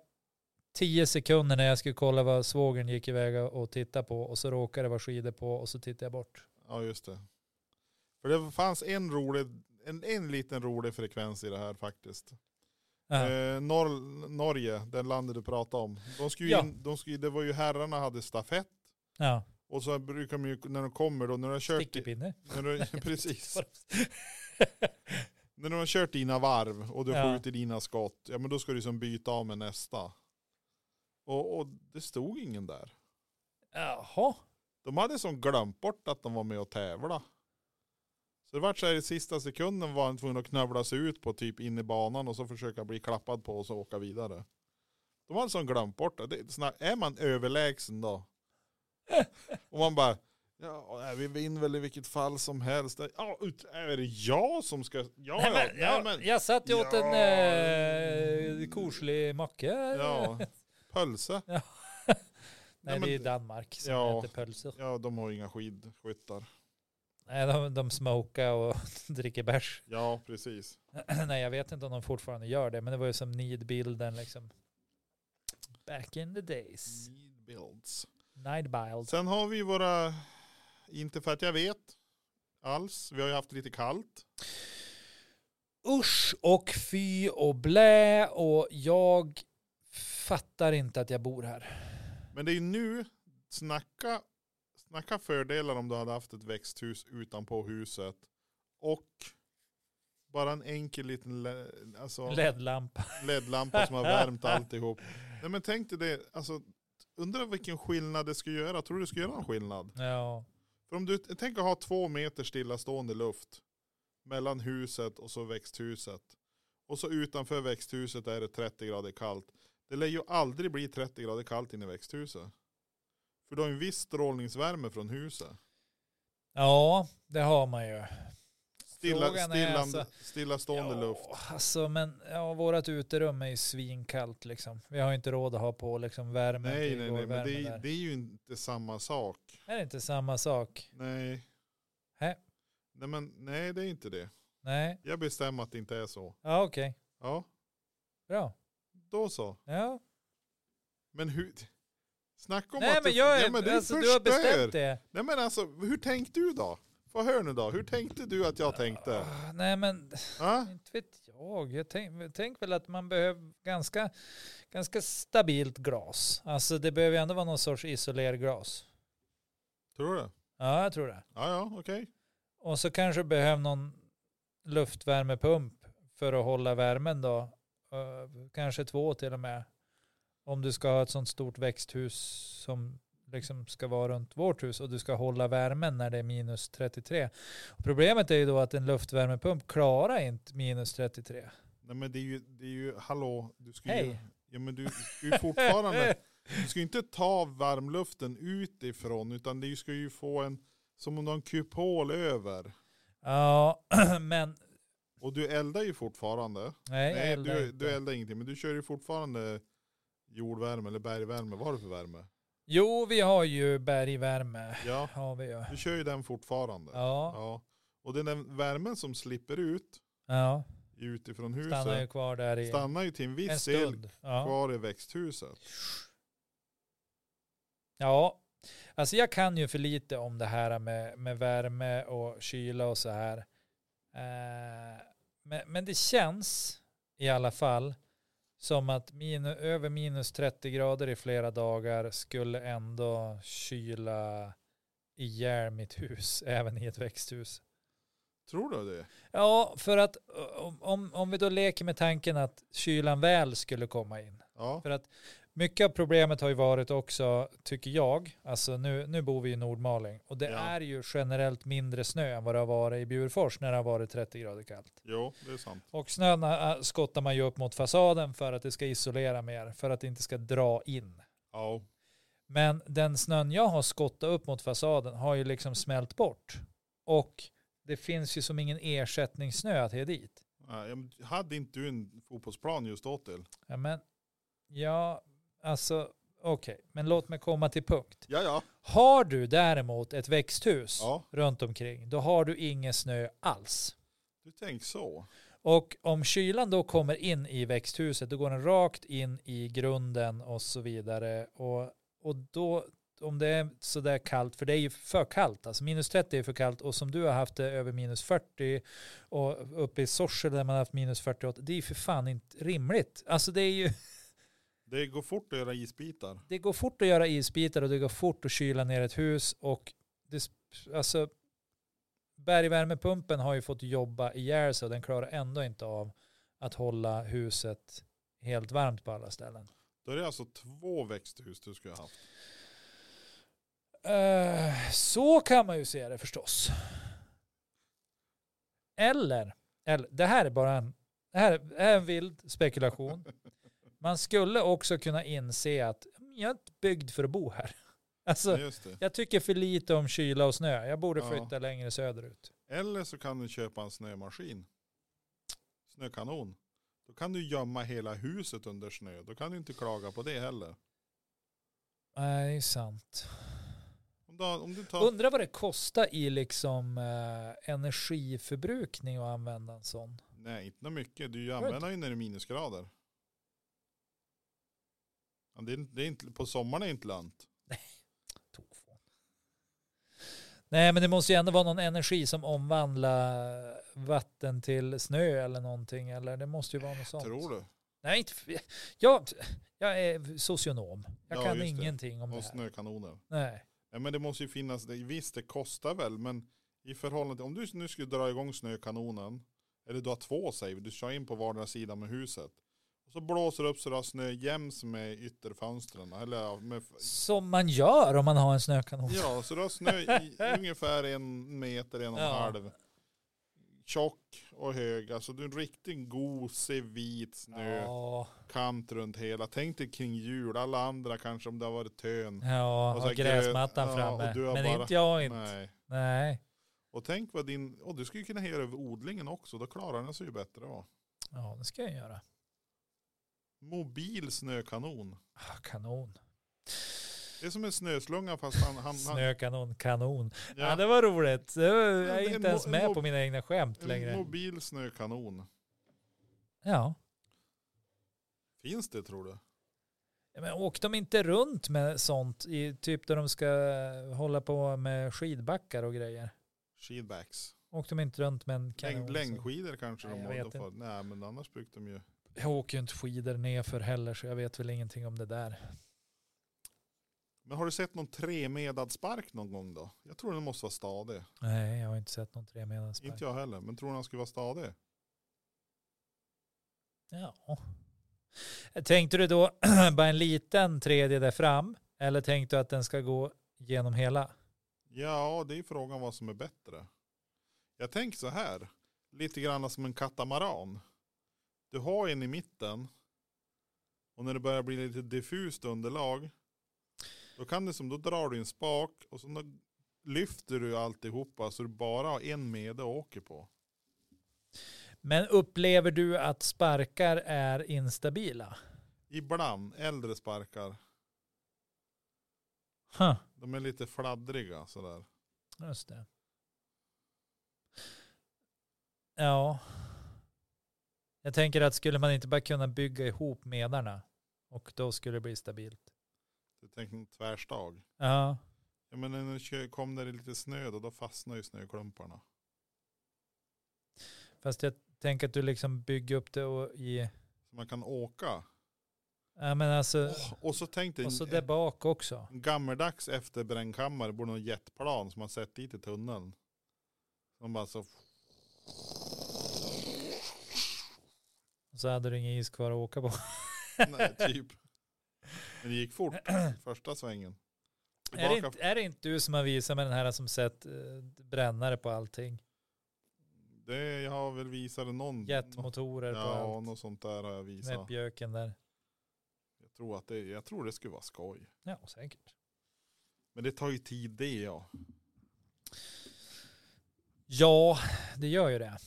A: tio sekunder när jag skulle kolla vad svågern gick iväg och titta på och så råkade det vara skidor på och så tittade jag bort.
C: Ja just det. För det fanns en rolig, en, en liten rolig frekvens i det här faktiskt.
A: Ja.
C: Eh, Nor- Norge, den landet du pratade om. De skulle ju
A: Ja.
C: in, de skulle, det var ju herrarna hade stafett.
A: ja.
C: Och så brukar de ju, när de kommer då, när de har kört, i-
A: Stickepinne.
C: när de, precis. När de har kört dina varv och du
A: Ja.
C: skjuter dina skott, ja men då ska du som byta av med nästa. Och, och det stod ingen där.
A: Jaha.
C: De hade som glömt bort att de var med och tävla. Så det vart så här i sista sekunden var han tvungen att knövla sig ut på typ in i banan och så försöka bli klappad på och så åka vidare. De hade som glömt bort det. det. är såna- Är man överlägsen då? Och man bara, ja nej, vi vinner väl i vilket fall som helst. Ja, ut, är det jag som ska, ja ja,
A: Nej, men,
C: nej,
A: jag,
C: men,
A: jag satt ju åt en
C: Ja.
A: eh, korslig macka.
C: ja, pölse.
A: Nej,
C: nej,
A: det är
C: men-
A: Danmark som
C: Ja.
A: äter pölser.
C: Ja, de har ju inga skidskyttar.
A: Nej, de, de smokar och dricker bärs.
C: Ja, precis.
A: Nej, jag vet inte om de fortfarande gör det, men det var ju som nidbilden liksom. Back in the days.
C: Speedbuilds.
A: Nidbild.
C: Sen har vi våra, inte för att jag vet alls, vi har ju haft lite kallt.
A: Usch och fy och blä och jag fattar inte att jag bor här.
C: Men det är ju nu, snacka, snacka fördelar om du hade haft ett växthus utanpå huset. Och bara en enkel liten le, alltså,
A: LED-lampa.
C: LED-lampa som har värmt alltihop. Nej men tänk dig det, alltså, undrar vilken skillnad det skulle göra. Tror du det skulle göra någon skillnad?
A: Ja.
C: För om du tänk att ha två meter stillastående luft mellan huset och så växthuset. Och så utanför växthuset är det 30 grader kallt. Det lär ju aldrig bli 30 grader kallt inne i växthuset. För du har ju en viss strålningsvärme från huset.
A: ja, det har man ju.
C: Stilla,
A: Frågan är
C: stillande,
A: alltså-
C: stillastående luft.
A: Alltså, men ja, vårat uterum är ju svinkallt liksom. Vi har ju inte råd att ha på liksom värme.
C: Nej,
A: till
C: nej,
A: vår
C: nej, men
A: värme
C: det,
A: där.
C: är- det är ju inte samma sak.
A: Är det inte samma sak?
C: Nej.
A: Hä?
C: Nej, men nej, det är inte det.
A: Nej,
C: Jag bestämmer att det inte är så.
A: ja okej.
C: Ja,
A: Bra.
C: då så.
A: Ja.
C: Men hur? Snacka om
A: Nej,
C: att
A: men
C: det-
A: jag,
C: ja, men det
A: alltså, du har
C: förstör.
A: bestämt det.
C: Nej men alltså, hur tänkte du då? Få höra nu då, hur tänkte du att jag tänkte?
A: Ah, Nej, men
C: Ja?
A: Inte vet jag. jag tänk, tänk väl att man behöver ganska, ganska stabilt glas. Alltså det behöver ju ändå vara någon sorts isolerglas.
C: Tror du?
A: Ja, jag tror det.
C: Ja, ja, okej.
A: Och så kanske behöver någon luftvärmepump för att hålla värmen då. Eh, Kanske två till och med. Om du ska ha ett sånt stort växthus som liksom ska vara runt vårt hus och du ska hålla värmen när det är minus 33. Och problemet är ju då att en luftvärmepump klarar inte minus 33.
C: Nej men det är ju, det är ju hallå, du ska ju,
A: Hej!
C: ja, men du, du ska ju fortfarande, du ska ju inte ta varmluften utifrån utan du ska ju få en, som om du har en kupol över.
A: Ja, men
C: Och du eldar ju fortfarande.
A: nej, jag
C: Nej,
A: eldar
C: du,
A: inte.
C: du eldar ingenting, men du kör ju fortfarande jordvärme eller bergvärme. Vad har du för värme?
A: Jo, vi har ju bergvärme.
C: Ja,
A: Har vi ju.
C: du kör ju den fortfarande.
A: Ja,
C: Ja. Och den där värmen som slipper ut
A: ja.
C: utifrån huset
A: stannar ju kvar där i
C: stannar ju till en
A: en
C: viss del
A: stund. Ja.
C: kvar i växthuset.
A: ja, alltså jag kan ju för lite om det här med, med värme och kyla och så här. Eh, men, men det känns i alla fall som att min, över minus 30 grader i flera dagar skulle ändå kyla ihjäl mitt hus, även i ett växthus.
C: Tror du det?
A: Ja, för att ö, om- om, om vi då leker med tanken att kylan väl skulle komma in.
C: Ja.
A: För att mycket av problemet har ju varit också, tycker jag, alltså nu, nu bor vi i Nordmaling och det
C: Ja.
A: är ju generellt mindre snö än vad det har varit i Bjurfors när det har varit 30 grader kallt.
C: Jo, det är sant.
A: Och snön äh, skottar man ju upp mot fasaden för att det ska isolera mer, för att det inte ska dra in.
C: Ja.
A: Men den snön jag har skottat upp mot fasaden har ju liksom smält bort. Och det finns ju som ingen ersättningssnö att ge dit.
C: Ja, men Hade inte du en fotbollsplan just åt till?
A: Ja, men, ja alltså okej, men låt mig komma till punkt.
C: Ja, ja.
A: Har du däremot ett växthus
C: Ja.
A: runt omkring, då har du ingen snö alls.
C: Du tänker så.
A: Och om kylan då kommer in i växthuset, då går den rakt in i grunden och så vidare. Och, och då, om det är sådär kallt, för det är ju för kallt, alltså minus 30 är för kallt och som du har haft det över minus 40 och uppe i Sorsele där man har haft minus 48, det är ju för fan inte rimligt. Alltså det är ju,
C: Det går fort att göra isbitar.
A: det går fort att göra isbitar och det går fort att kyla ner ett hus och det, sp- alltså bergvärmepumpen har ju fått jobba ihjäl sig och den klarar ändå inte av att hålla huset helt varmt på alla ställen.
C: Då är det alltså två växthus du skulle ha haft.
A: Eh, så kan man ju se det förstås. Eller, eller det här är bara en, det här är en vild spekulation. Man skulle också kunna inse att "Mm, jag är inte byggd för att bo här. Alltså,
C: Ja, Just det.
A: Jag tycker för lite om kyla och snö. Jag borde
C: Ja.
A: flytta längre söderut.
C: Eller så kan du köpa en snömaskin. Snökanon. Då kan du gömma hela huset under snö. Då kan du inte klaga på det heller.
A: Nej, det är sant.
C: Om du, har- om du tar...
A: Undrar vad det kostar i liksom eh, energiförbrukning att använda en sån.
C: Nej, inte något mycket. Du
A: inte?
C: använder ju när det är minusgrader. Ja, Det är, inte- det är inte, på sommaren är det inte lönt.
A: Tokfån. Nej, men det måste ju ändå vara någon energi som omvandlar vatten till snö eller någonting. Eller det måste ju vara något sånt.
C: Tror du?
A: Nej, inte. Jag, jag är socionom. Jag
C: Ja,
A: kan
C: just det.
A: ingenting om
C: Och
A: det här.
C: snökanoner.
A: Nej.
C: Ja, men det måste ju finnas, det, visst det kostar väl, men i förhållande till, om du nu skulle dra igång snökanonen, eller du har två säger vi, du kör in på vardera sida med huset. Och så blåser det upp så du har snö jäms med ytterfönstren. Eller ja, med,
A: Som man gör om man har en snökanon.
C: ja, så du har snö i, ungefär en meter, en och en
A: Ja.
C: halv. Tjock och hög, alltså du är en riktigt gosig vit snökant
A: Ja.
C: runt hela. Tänk dig kring jul, alla andra kanske om det har varit tön.
A: Ja,
C: Och
A: och,
C: så grö-
A: gräsmattan
C: ja, och
A: framme.
C: du har
A: Men
C: bara-
A: inte jag inte. Nej.
C: Nej. Och tänk vad din, och du skulle kunna göra över odlingen också, då klarar den sig ju bättre va.
A: Ja, det ska jag göra.
C: Mobil snökanon.
A: Ah, kanon.
C: Det är som en snöslunga fast han, han, han
A: Snökanon, kanon. Ja.
C: ja,
A: det var roligt. Det var, jag
C: Men det är
A: är inte ens
C: mo-
A: med
C: mo-
A: på mina egna skämt
C: en
A: längre.
C: mobil snökanon.
A: Ja.
C: Finns det tror du?
A: Ja, Men åkte de inte runt med sånt, i, typ där de ska hålla på med skidbackar och grejer?
C: Skidbacks.
A: Åkte de inte runt med en kanon?
C: Längd,
A: så-
C: längdskidor kanske
A: Nej,
C: de
A: jag
C: har.
A: vet
C: då får- Nej men annars brukar de ju.
A: Jag åker ju inte skidor nerför heller så jag vet väl ingenting om det där.
C: Men har du sett någon tremedad spark någon gång då? Jag tror den måste vara stadig.
A: Nej, jag har inte sett någon tremedelspark.
C: Inte jag heller, men tror du han skulle vara stadig?
A: Ja. Tänkte du då bara en liten tredje där fram? Eller tänkte du att den ska gå genom hela?
C: Ja, det är frågan vad som är bättre. Jag tänker så här, lite grann som en katamaran. Du har en i mitten och när det börjar bli lite diffust underlag då kan det som, då drar du en spak och så då lyfter du alltihopa så du bara har en mede att åka på.
A: Men upplever du att sparkar är instabila?
C: Ibland, äldre sparkar,
A: Huh,
C: de är lite fladdriga sådär.
A: just det. Ja. Jag tänker att skulle man inte bara kunna bygga ihop medarna och då skulle det bli stabilt.
C: Du tänker en tvärstag.
A: Ja,
C: Ja men när det kö- kom där det lite snö då, då fastnar ju snöklumparna.
A: fast jag tänker att du liksom bygger upp det och i...
C: Så man kan åka.
A: Ja, men alltså...
C: Åh, och så tänkte
A: Och så där bak också.
C: En Gammeldags efter brännkammare borde någon jetplan som man sett dit i tunneln. Som bara så,
A: Så hade du ingen is kvar att åka på.
C: nej typ. Men det gick fort, första svängen.
A: Är det,
C: Tillbaka,
A: inte, är det inte du som har visat med den här som sett eh, brännare på allting?
C: det, jag har väl visat det någon.
A: Jetmotorer på
C: Mm. Ja,
A: allt.
C: något sånt där har jag
A: Med
C: visat.
A: björken där.
C: Jag tror, att det, jag tror det skulle vara skoj.
A: Ja, säkert.
C: Men det tar ju tid det ja.
A: Ja, det gör ju det.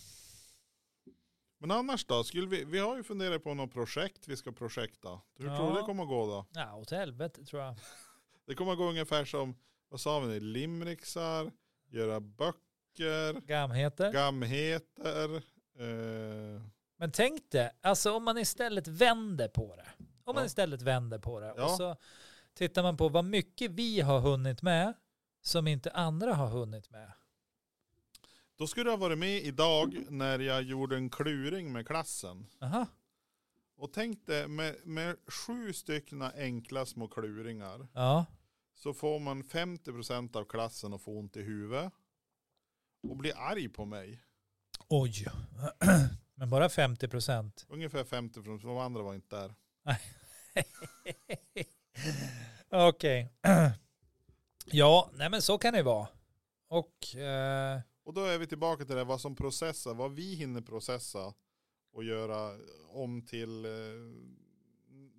C: Men annars då, skulle vi, vi har ju funderat på något projekt vi ska projekta. Hur
A: Ja.
C: tror du det kommer gå då?
A: Ja, åt helvete tror jag.
C: Det kommer gå ungefär som, vad sa vi, nu, limericksar, göra böcker, Socker,
A: Gamheter.
C: gamheter. Eh,
A: Men tänk dig, alltså om man istället vänder på det. Om man
C: Ja.
A: istället vänder på det.
C: Ja.
A: Och så tittar man på vad mycket vi har hunnit med som inte andra har hunnit med.
C: då skulle jag ha varit med idag när jag gjorde en kluring med klassen.
A: Aha.
C: Och tänk dig med, med sju stycken enkla små kluringar
A: Ja.
C: så får man 50% av klassen att få ont i huvudet. Och blir arg på mig.
A: Oj. Men bara 50 procent.
C: Ungefär 50% för de andra var inte där.
A: Okej. Ja, nej men så kan det vara. Och eh,
C: Och då är vi tillbaka till det, vad som processar, vad vi hinner processa och göra om till eh,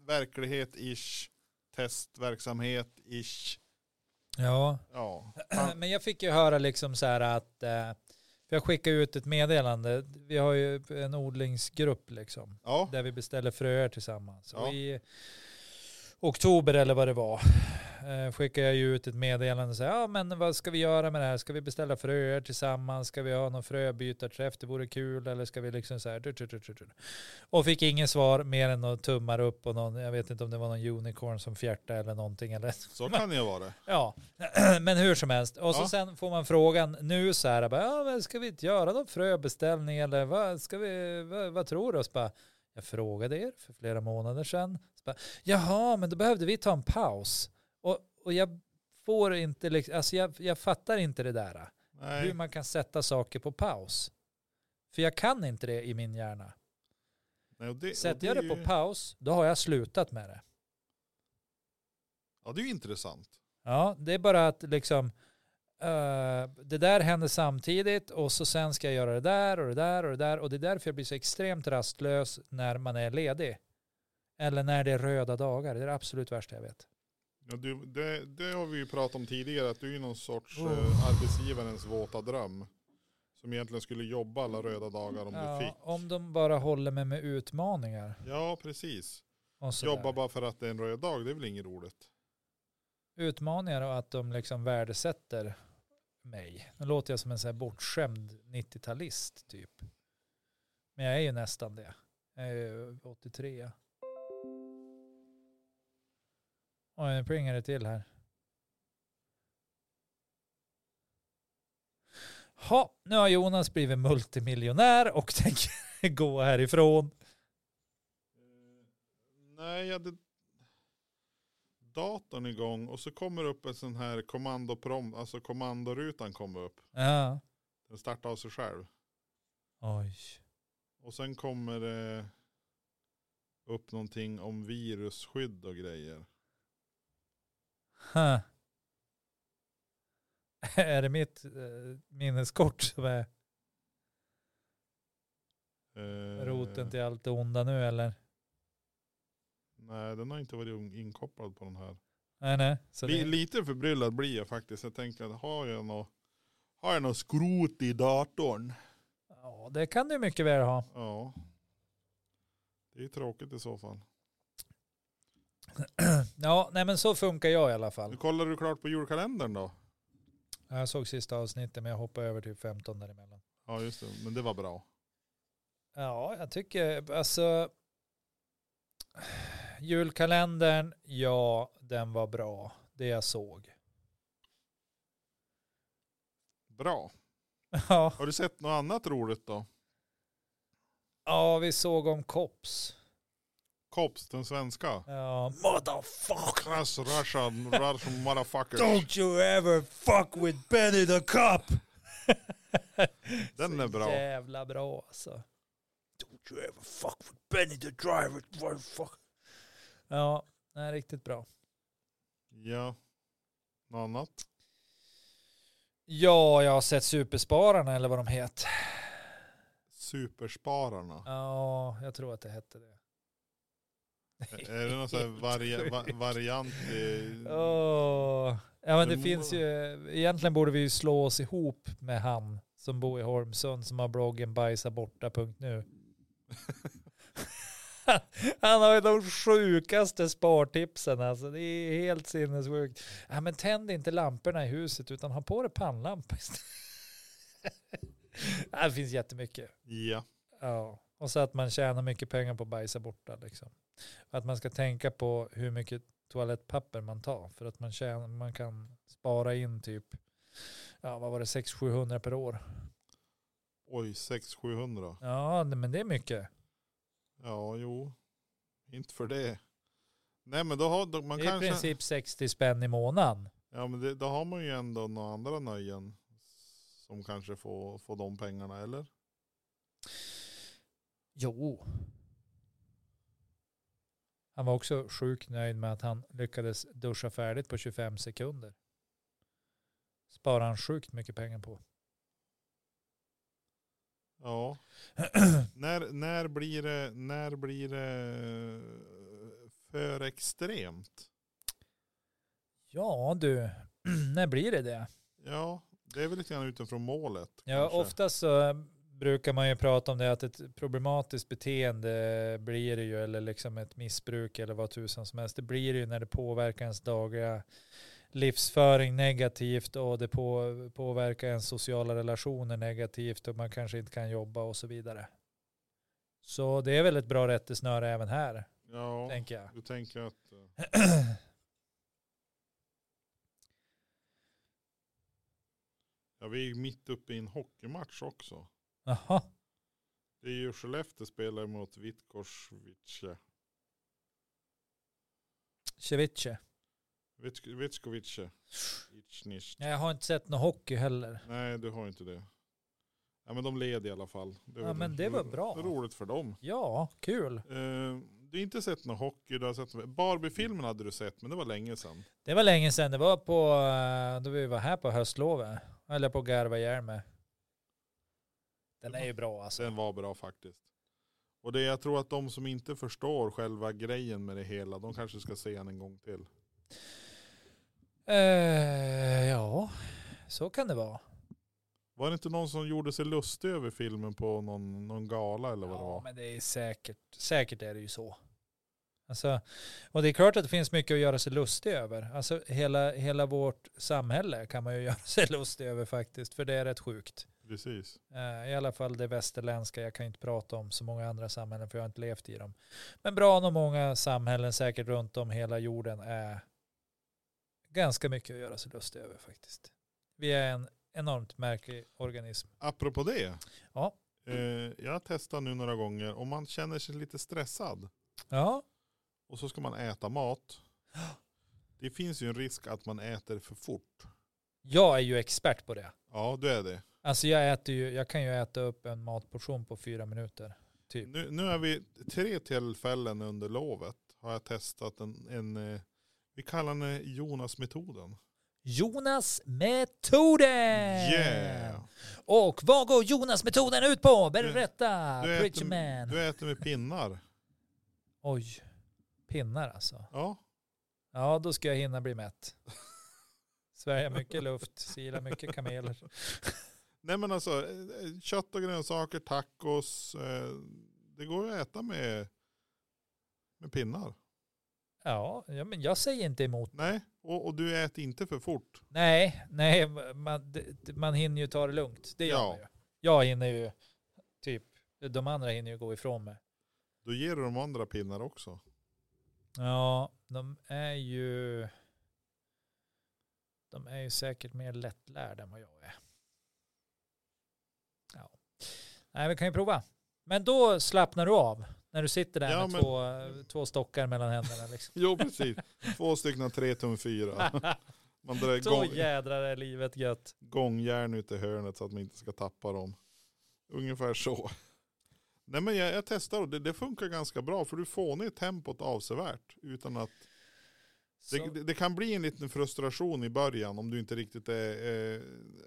C: verklighet-ish, testverksamhet-ish.
A: ja,
C: Ja.
A: Men jag fick ju höra liksom så här att, eh, för jag skickade ut ett meddelande, vi har ju en odlingsgrupp liksom,
C: ja.
A: där vi beställer fröer tillsammans.
C: Ja.
A: Och i oktober eller vad det var, eh, skickade jag ju ut ett meddelande och sa, ja men vad ska vi göra med det här? Ska vi beställa fröer tillsammans? Ska vi ha någon fröbytarträff? Det vore kul. Eller ska vi liksom så här, tut, tut, tut, tut, tut. Och fick inget svar mer än några tummar upp och någon, jag vet inte om det var någon unicorn som fjärtade eller någonting. Eller
C: Så kan det ju vara.
A: Ja, men hur som helst. Och så
C: Ja.
A: sen får man frågan nu så här, bara, ja, men ska vi inte göra någon fröbeställning eller vad, ska vi, vad, vad tror du? Och så bara, jag frågade er för flera månader sedan. Så bara, Jaha, men då behövde vi ta en paus. Och, och jag får inte, liksom- alltså jag, jag fattar inte det där. Hur
C: Nej.
A: man kan sätta saker på paus. För jag kan inte det i min hjärna.
C: Nej, och det, och
A: Sätter jag
C: är
A: det på
C: ju-
A: paus, då har jag slutat med det.
C: Ja, det är ju intressant.
A: Ja, det är bara att liksom eh, det där händer samtidigt och så sen ska jag göra det där och det där och det där och det är därför jag blir så extremt rastlös när man är ledig. Eller när det är röda dagar, det är det absolut värsta jag vet.
C: Ja, du, det, det har vi ju pratat om tidigare, att du är ju någon sorts
A: Oh.
C: eh, arbetsgivarens våta dröm. Som egentligen skulle jobba alla röda dagar om du
A: Ja,
C: fick.
A: om de bara håller mig med utmaningar.
C: Ja, precis.
A: Och sådär.
C: Jobba bara för att det är en röd dag, det är väl inget roligt.
A: Utmaningar och att de liksom värdesätter mig. Nu låter jag som en så här bortskämd 90-talist typ. Men jag är ju nästan det. Jag är ju 83. Oj, nu plingar det till här. Ha, nu har Jonas blivit multimiljonär och tänker gå härifrån.
C: Nej, jag hade datorn igång och så kommer upp en sån här kommandoprompt, alltså kommandorutan kommer upp.
A: Ja.
C: Den startar av sig själv.
A: Oj.
C: Och sen kommer det upp någonting om virusskydd och grejer.
A: Huh. Är det mitt eh, minneskort som är
C: Eh,
A: roten till allt det onda nu eller?
C: Nej, den har inte varit in- inkopplad på den här.
A: Nej, nej. Så
C: Li-
A: det,
C: lite förbryllad blir jag faktiskt. Jag tänker att har jag något, har jag något skrot i datorn?
A: ja, det kan du mycket väl ha.
C: Ja. Det är tråkigt i så fall.
A: Ja, nej men så funkar jag i alla
C: Nu
A: fall.
C: kollar du klart på julkalendern då?
A: Ja, Jag såg sista avsnittet men jag hoppade över typ 15 däremellan.
C: Ja just det, men det var bra.
A: Ja, jag tycker alltså julkalendern, ja den var bra. Det jag såg.
C: Bra.
A: Ja,
C: Har du sett något annat roligt då?
A: ja vi såg om Kops.
C: Kops, den svenska.
A: Ja, motherfucker.
C: Class Russian, Russian motherfucker.
A: Don't you ever fuck with Benny the Cop!
C: Den
A: Så
C: är bra.
A: jävla bra alltså. Don't you ever fuck with Benny the Driver. what the Fuck. Ja, den är riktigt bra.
C: Ja. Något annat?
A: Ja, jag har sett Superspararna eller vad de heter.
C: Superspararna.
A: Ja, jag tror att det hette det.
C: Är det någon sån här vari- va- variant i...
A: Åh. Ja, men det
C: Det må-
A: finns ju, egentligen borde vi ju slå oss ihop med han som bor i Holmsund som har bloggen bajsaborta.nu. Han har ju de sjukaste spartipsen alltså. Det är helt sinnessjukt. Ja, men tänd inte lamporna i huset utan ha på dig pannlampa istället. det finns jättemycket.
C: Ja.
A: Ja. Och så att man tjänar mycket pengar på att bajsa borta. Liksom. Att man ska tänka på hur mycket toalettpapper man tar. För att man, tjänar, man kan spara in typ, ja vad var det, 600-700 per år.
C: Oj, 600-700.
A: Ja, nej, men det är mycket.
C: Ja, jo. Inte för det. Nej, men då har då, man
A: det är i
C: kanske...
A: princip 60 spänn i månaden.
C: Ja, men det, då har man ju ändå några andra nöjen som kanske får, får de pengarna, eller?
A: Jo. Han var också sjukt nöjd med att han lyckades duscha färdigt på 25 sekunder. Sparar han sjukt mycket pengar på.
C: Ja. när, när, blir det, när blir det eh, för extremt?
A: Ja du, när blir det det?
C: Ja, det är väl lite grann utifrån målet.
A: Ja,
C: kanske.
A: oftast så eh, brukar man ju prata om det att ett problematiskt beteende blir det ju, eller liksom ett missbruk eller vad tusan som helst, det blir det ju när det påverkar ens dagliga livsföring negativt och det på, påverkar ens sociala relationer negativt och man kanske inte kan jobba och så vidare. Så det är väl ett bra rättesnöre även här,
C: Ja,
A: tänker jag.
C: du tänker att... eh, Ja, vi är ju mitt uppe i en hockeymatch också.
A: Jaha,
C: Det är ju Skellefteå spelar mot Vitkovice.
A: ceviche.
C: Vitk- Vitkovice. Ichnich.
A: Nej, Jag har inte sett någon hockey heller.
C: Nej, du har inte det. Ja, men de led i alla fall. Det
A: Ja,
C: var
A: men det var bra.
C: Roligt för dem.
A: Ja, kul.
C: Eh, du har inte sett någon hockey, du har sett Barbie-filmen hade du sett, men det var länge sedan.
A: Det var länge sedan, det var på, eh, då vi var här på höstlovet. Eller på Garva Järme. Den är ju bra alltså.
C: Den var bra faktiskt. Och det jag tror att de som inte förstår själva grejen med det hela, de kanske ska se den en gång till.
A: Eh, ja, så kan det vara.
C: Var det inte någon som gjorde sig lustig över filmen på någon, någon gala eller vad det
A: Ja,
C: var?
A: men det är säkert, säkert är det ju så. Alltså, och det är klart att det finns mycket att göra sig lustig över. Alltså hela, hela vårt samhälle kan man ju göra sig lustig över faktiskt, för det är rätt sjukt.
C: Precis.
A: Eh, I alla fall det västerländska. Jag kan inte prata om så många andra samhällen för jag har inte levt i dem. Men bra nog många samhällen säkert runt om hela jorden är ganska mycket att göra sig lustig över faktiskt. Vi är en enormt märklig organism.
C: Apropå det.
A: Ja.
C: Eh, jag har testat nu några gånger, om man känner sig lite stressad
A: Ja,
C: och så ska man äta mat. Det finns ju en risk att man äter för fort.
A: jag är ju expert på det.
C: Ja, du är det.
A: Alltså jag äter ju, jag kan ju äta upp en matportion på fyra minuter. Typ.
C: Nu, nu är vi tre tillfällen under lovet har jag testat en, en eh, vi kallar den Jonas-metoden.
A: Jonas metoden!
C: Yeah!
A: Och vad går Jonas metoden ut på? Berätta!
C: Du
A: Preach
C: äter,
A: man!
C: du äter med pinnar.
A: Oj, pinnar alltså.
C: Ja,
A: Ja, då ska jag hinna bli mätt. Sverige mycket luft, Sila mycket kameler.
C: nej men alltså eh, kött och grönsaker, tacos. eh, Det går ju att äta med, med pinnar.
A: Ja, ja, men jag säger inte emot.
C: Nej, och, och du äter inte för fort.
A: Nej, nej, man, det- man hinner ju ta det lugnt. Det gör
C: Ja.
A: man ju. Jag hinner ju, typ, de andra hinner ju gå ifrån mig.
C: Då ger du de andra pinnar också.
A: Ja, de är ju, de är ju säkert mer lättlärda än vad jag är. Ja. Nej, vi kan ju prova. Men då slappnar du av när du sitter där
C: Ja,
A: med
C: men-
A: två, eh, två stockar mellan händerna. Liksom.
C: Jo precis, två stycken tre tum fyra. Man drar
A: Då
C: igång.
A: jädrar är livet gött.
C: gångjärn ute i hörnet så att man inte ska tappa dem. Ungefär så. Nej men jag, jag testar och det, det funkar ganska bra för du får ner tempot avsevärt. Utan att
A: Så,
C: det, det, det kan bli en liten frustration i början om du inte riktigt är, eh,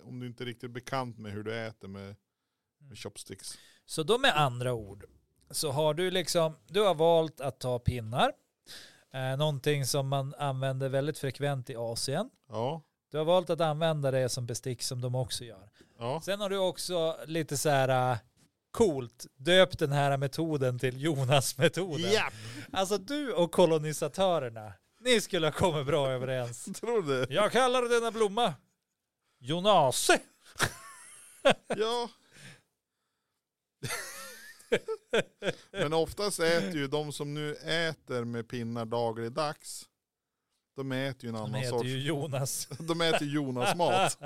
C: om du inte är riktigt bekant med hur du äter med, med chopsticks.
A: så då med andra ord så har du liksom, du har valt att ta pinnar. Eh, någonting som man använder väldigt frekvent i Asien.
C: Ja,
A: Du har valt att använda det som bestick som de också gör.
C: ja.
A: Sen har du också lite så här eh, coolt döpt den här metoden till Jonas-metoden.
C: Japp!
A: Alltså du och kolonisatörerna, ni skulle ha kommit bra överens.
C: Tror du?
A: Jag kallar denna blomma Jonase.
C: Ja. Men oftast äter ju de som nu äter med pinnar dagligdags. De äter ju en
A: Han
C: annan
A: heter
C: sorts.
A: ju Jonas.
C: De äter ju Jonas mat.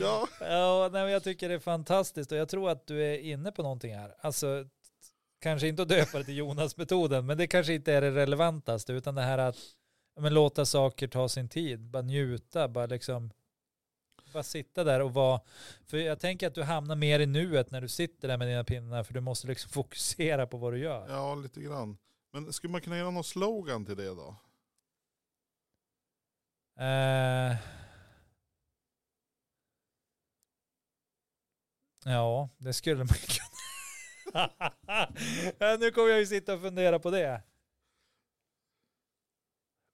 C: Ja.
A: Ja, nej, men jag tycker det är fantastiskt och jag tror att du är inne på någonting här. Alltså, t- kanske inte att döpa det till Jonas-metoden, men det kanske inte är det relevantaste, utan det här att ja, men, låta saker ta sin tid, bara njuta, bara liksom bara sitta där och vara, för jag tänker att du hamnar mer i nuet när du sitter där med dina pinnar, för du måste liksom fokusera på vad du gör.
C: ja, lite grann. Men skulle man kunna göra någon slogan till det då?
A: Eh. Ja, det skulle man kunna. Ja, nu kommer jag ju sitta och fundera på det.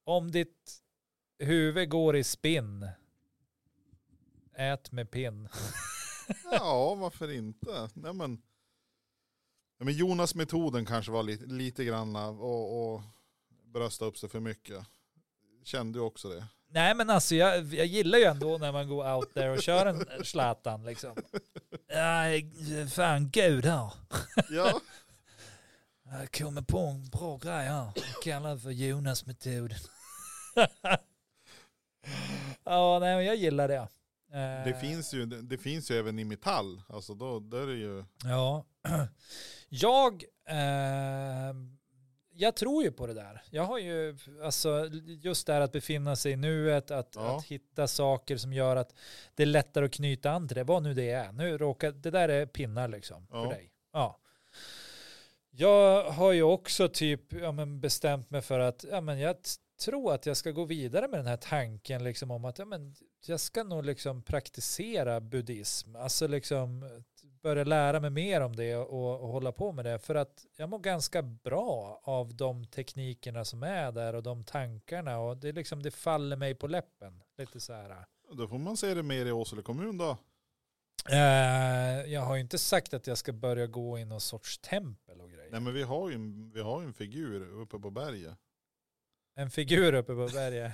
A: Om ditt huvud går i spinn, ät med pinn.
C: Ja, varför inte? Nej, men, ja, men Jonas-metoden kanske var lite, lite grann av och, och brösta upp sig för mycket. Kände ju också det.
A: Nej men alltså jag, jag gillar ju ändå när man går out there och kör en Zlatan liksom. Nej, fan gud här.
C: Ja,
A: Jag Eh, kommer på en bra grej här. Kallad för Jonas-metoden. ja, nej, men jag gillar det. Eh,
C: det finns ju, det, det finns ju även i metall. Alltså då, då är det ju,
A: Ja. Jag, eh, jag tror ju på det där. Jag har ju, alltså just det här att befinna sig i nuet, att,
C: Ja.
A: att hitta saker som gör att det är lättare att knyta an till det, vad nu det är. Nu råkar, det där är pinnar liksom
C: Ja.
A: för dig. Ja. Jag har ju också typ ja, men bestämt mig för att ja, men jag t- tror att jag ska gå vidare med den här tanken liksom om att ja, men jag ska nog liksom praktisera buddhism. Alltså liksom börja lära mig mer om det och, och hålla på med det. För att jag mår ganska bra av de teknikerna som är där och de tankarna. Och det, är liksom, det faller mig på läppen. Lite så här.
C: då får man se det mer i Åsele kommun då.
A: Eh, jag har ju inte sagt att jag ska börja gå i någon sorts tempel och grejer.
C: Nej men vi har ju, en- vi har ju en figur uppe på berget.
A: En figur uppe på berget.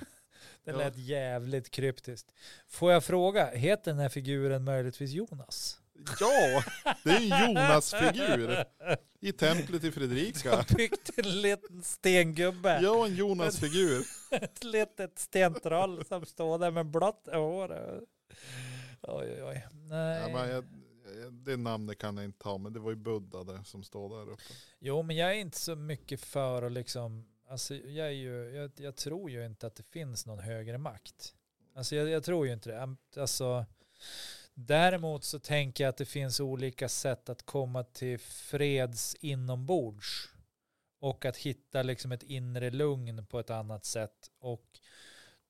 A: Det
C: Ja.
A: lät jävligt kryptiskt. Får jag fråga, heter den här figuren möjligtvis Jonas?
C: Ja, det är en Jonas-figur i templet i Fredrika.
A: Byggt en liten stengubbe.
C: Ja, en Jonas-figur.
A: ett litet stentroll som står där med blått hår. Oj, oj, oj. Nej.
C: Ja, men jag, jag- det namnet kan jag inte ta, men det var ju Buddha där som står där uppe.
A: Jo, men jag är inte så mycket för att liksom, alltså jag är ju, jag, jag tror ju inte att det finns någon högre makt. Alltså jag, jag tror ju inte det. Am- Alltså, däremot så tänker jag att det finns olika sätt att komma till freds inombords. Och att hitta liksom ett inre lugn på ett annat sätt. Och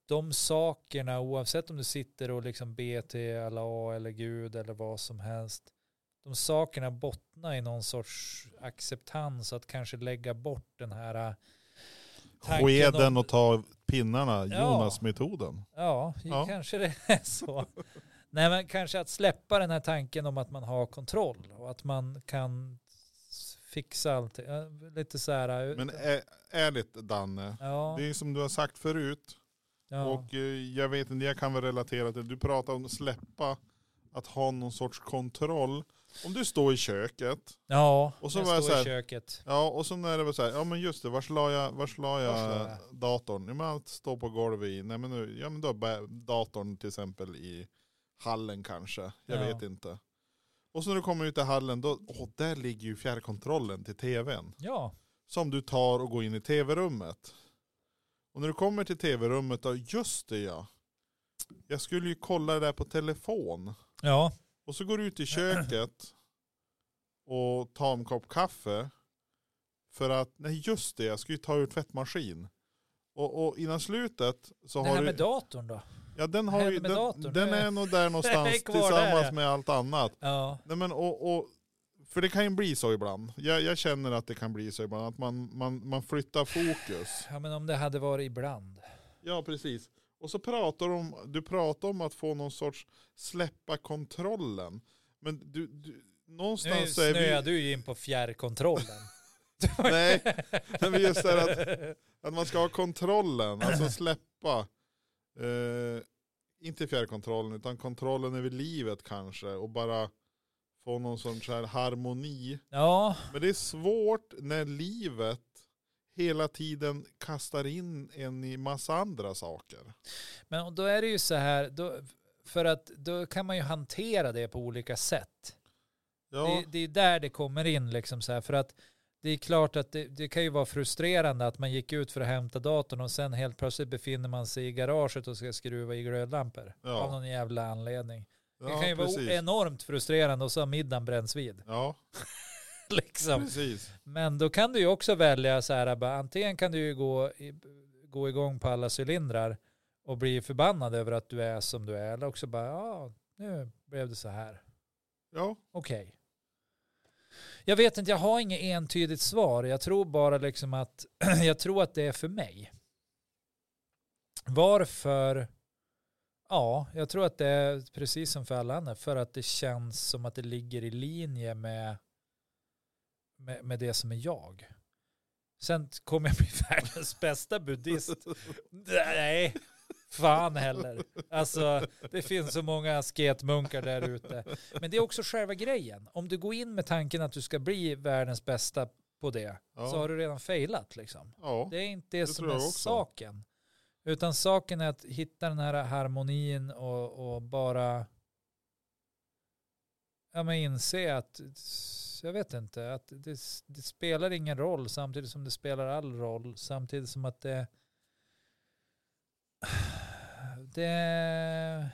A: de sakerna, oavsett om du sitter och liksom ber till Allah eller Gud eller vad som helst, de sakerna bottnar i någon sorts acceptans att kanske lägga bort den här eh, tanken om-
C: Skeden och ta pinnarna,
A: Ja.
C: Jonas-metoden.
A: Ja,
C: Ja.
A: kanske det är så. Nej, men kanske att släppa den här tanken om att man har kontroll och att man kan s- fixa allt. Ja, Lite så här. eh,
C: Men ä, ärligt Danne,
A: ja,
C: det är som du har sagt förut,
A: ja.
C: och eh, jag vet inte, jag kan väl relatera till, du pratar om att släppa, att ha någon sorts kontroll. Om du står i köket,
A: ja,
C: och så
A: jag
C: var jag
A: står
C: så
A: i
C: här-
A: köket.
C: ja och så när det var så här, ja men just det, vars la jag, vars la jag,
A: Vars la
C: datorn? Ja men allt står på golvet i, nej men nu, ja men då bä- datorn till exempel i hallen kanske, jag
A: Ja.
C: vet inte. Och så när du kommer ut i hallen, då, åh där ligger ju fjärrkontrollen till tvn.
A: Ja,
C: som du tar och går in i tv-rummet. Och när du kommer till tv-rummet då, just det ja. Jag skulle ju kolla det där på telefon.
A: ja,
C: Och så går du ut i köket och tar en kopp kaffe. För att, nej just det, jag ska ju ta ur tvättmaskin. Och, och innan slutet så
A: det
C: har
A: här
C: du...
A: med datorn då.
C: ja den
A: det
C: har
A: här
C: ju,
A: med
C: den,
A: datorn,
C: den
A: det-
C: är nog där någonstans
A: kvar där,
C: tillsammans
A: ja.
C: med allt annat.
A: Ja,
C: Nej men och, och för det kan ju bli så ibland. Jag, jag känner att det kan bli så ibland, att man, man, man flyttar fokus.
A: ja, men om det hade varit ibland.
C: Ja, precis. Och så pratar du om, du pratar om att få någon sorts släppa kontrollen. Men du, du
A: Nu
C: någonstans så är
A: snöar
C: vi...
A: du ju in på fjärrkontrollen.
C: Nej, men vi just det här att, att man ska ha kontrollen, alltså släppa. Eh, inte fjärrkontrollen, utan kontrollen över livet kanske och bara få någon sån så här harmoni.
A: Ja,
C: Men det är svårt när livet hela tiden kastar in en i massa andra saker.
A: men då är det ju så här, då, för att då kan man ju hantera det på olika sätt.
C: Ja,
A: Det, det är där det kommer in liksom så här. För att det är klart att det, det kan ju vara frustrerande att man gick ut för att hämta datorn och sen helt plötsligt befinner man sig i garaget och ska skruva i glödlampor. Av
C: ja,
A: någon jävla anledning. Det
C: ja
A: kan ju
C: precis.
A: vara enormt frustrerande och så har middagen bränns vid.
C: Ja,
A: Liksom.
C: precis.
A: Men då kan du ju också välja så här, bara, antingen kan du ju gå, i, gå igång på alla cylindrar och bli förbannad över att du är som du är. Eller också bara, ja, nu blev det så här.
C: Ja,
A: Okej. Jag vet inte, jag har inget entydigt svar. Jag tror bara liksom att, jag tror att det är för mig. Varför? Ja, jag tror att det är precis som för alla andra, för att det känns som att det ligger i linje med, med, med det som är jag. Sen kommer jag bli världens bästa buddhist. Nej, fan heller. Alltså, det finns så många asketmunkar där ute. Men det är också själva grejen. Om du går in med tanken att du ska bli världens bästa på det,
C: Ja.
A: så har du redan failat liksom.
C: ja,
A: Det är inte det,
C: Det
A: som
C: tror
A: är
C: jag också.
A: saken. Utan saken är att hitta den här harmonin och, och bara ja, men inse att, jag vet inte, att det, det spelar ingen roll samtidigt som det spelar all roll, samtidigt som att det det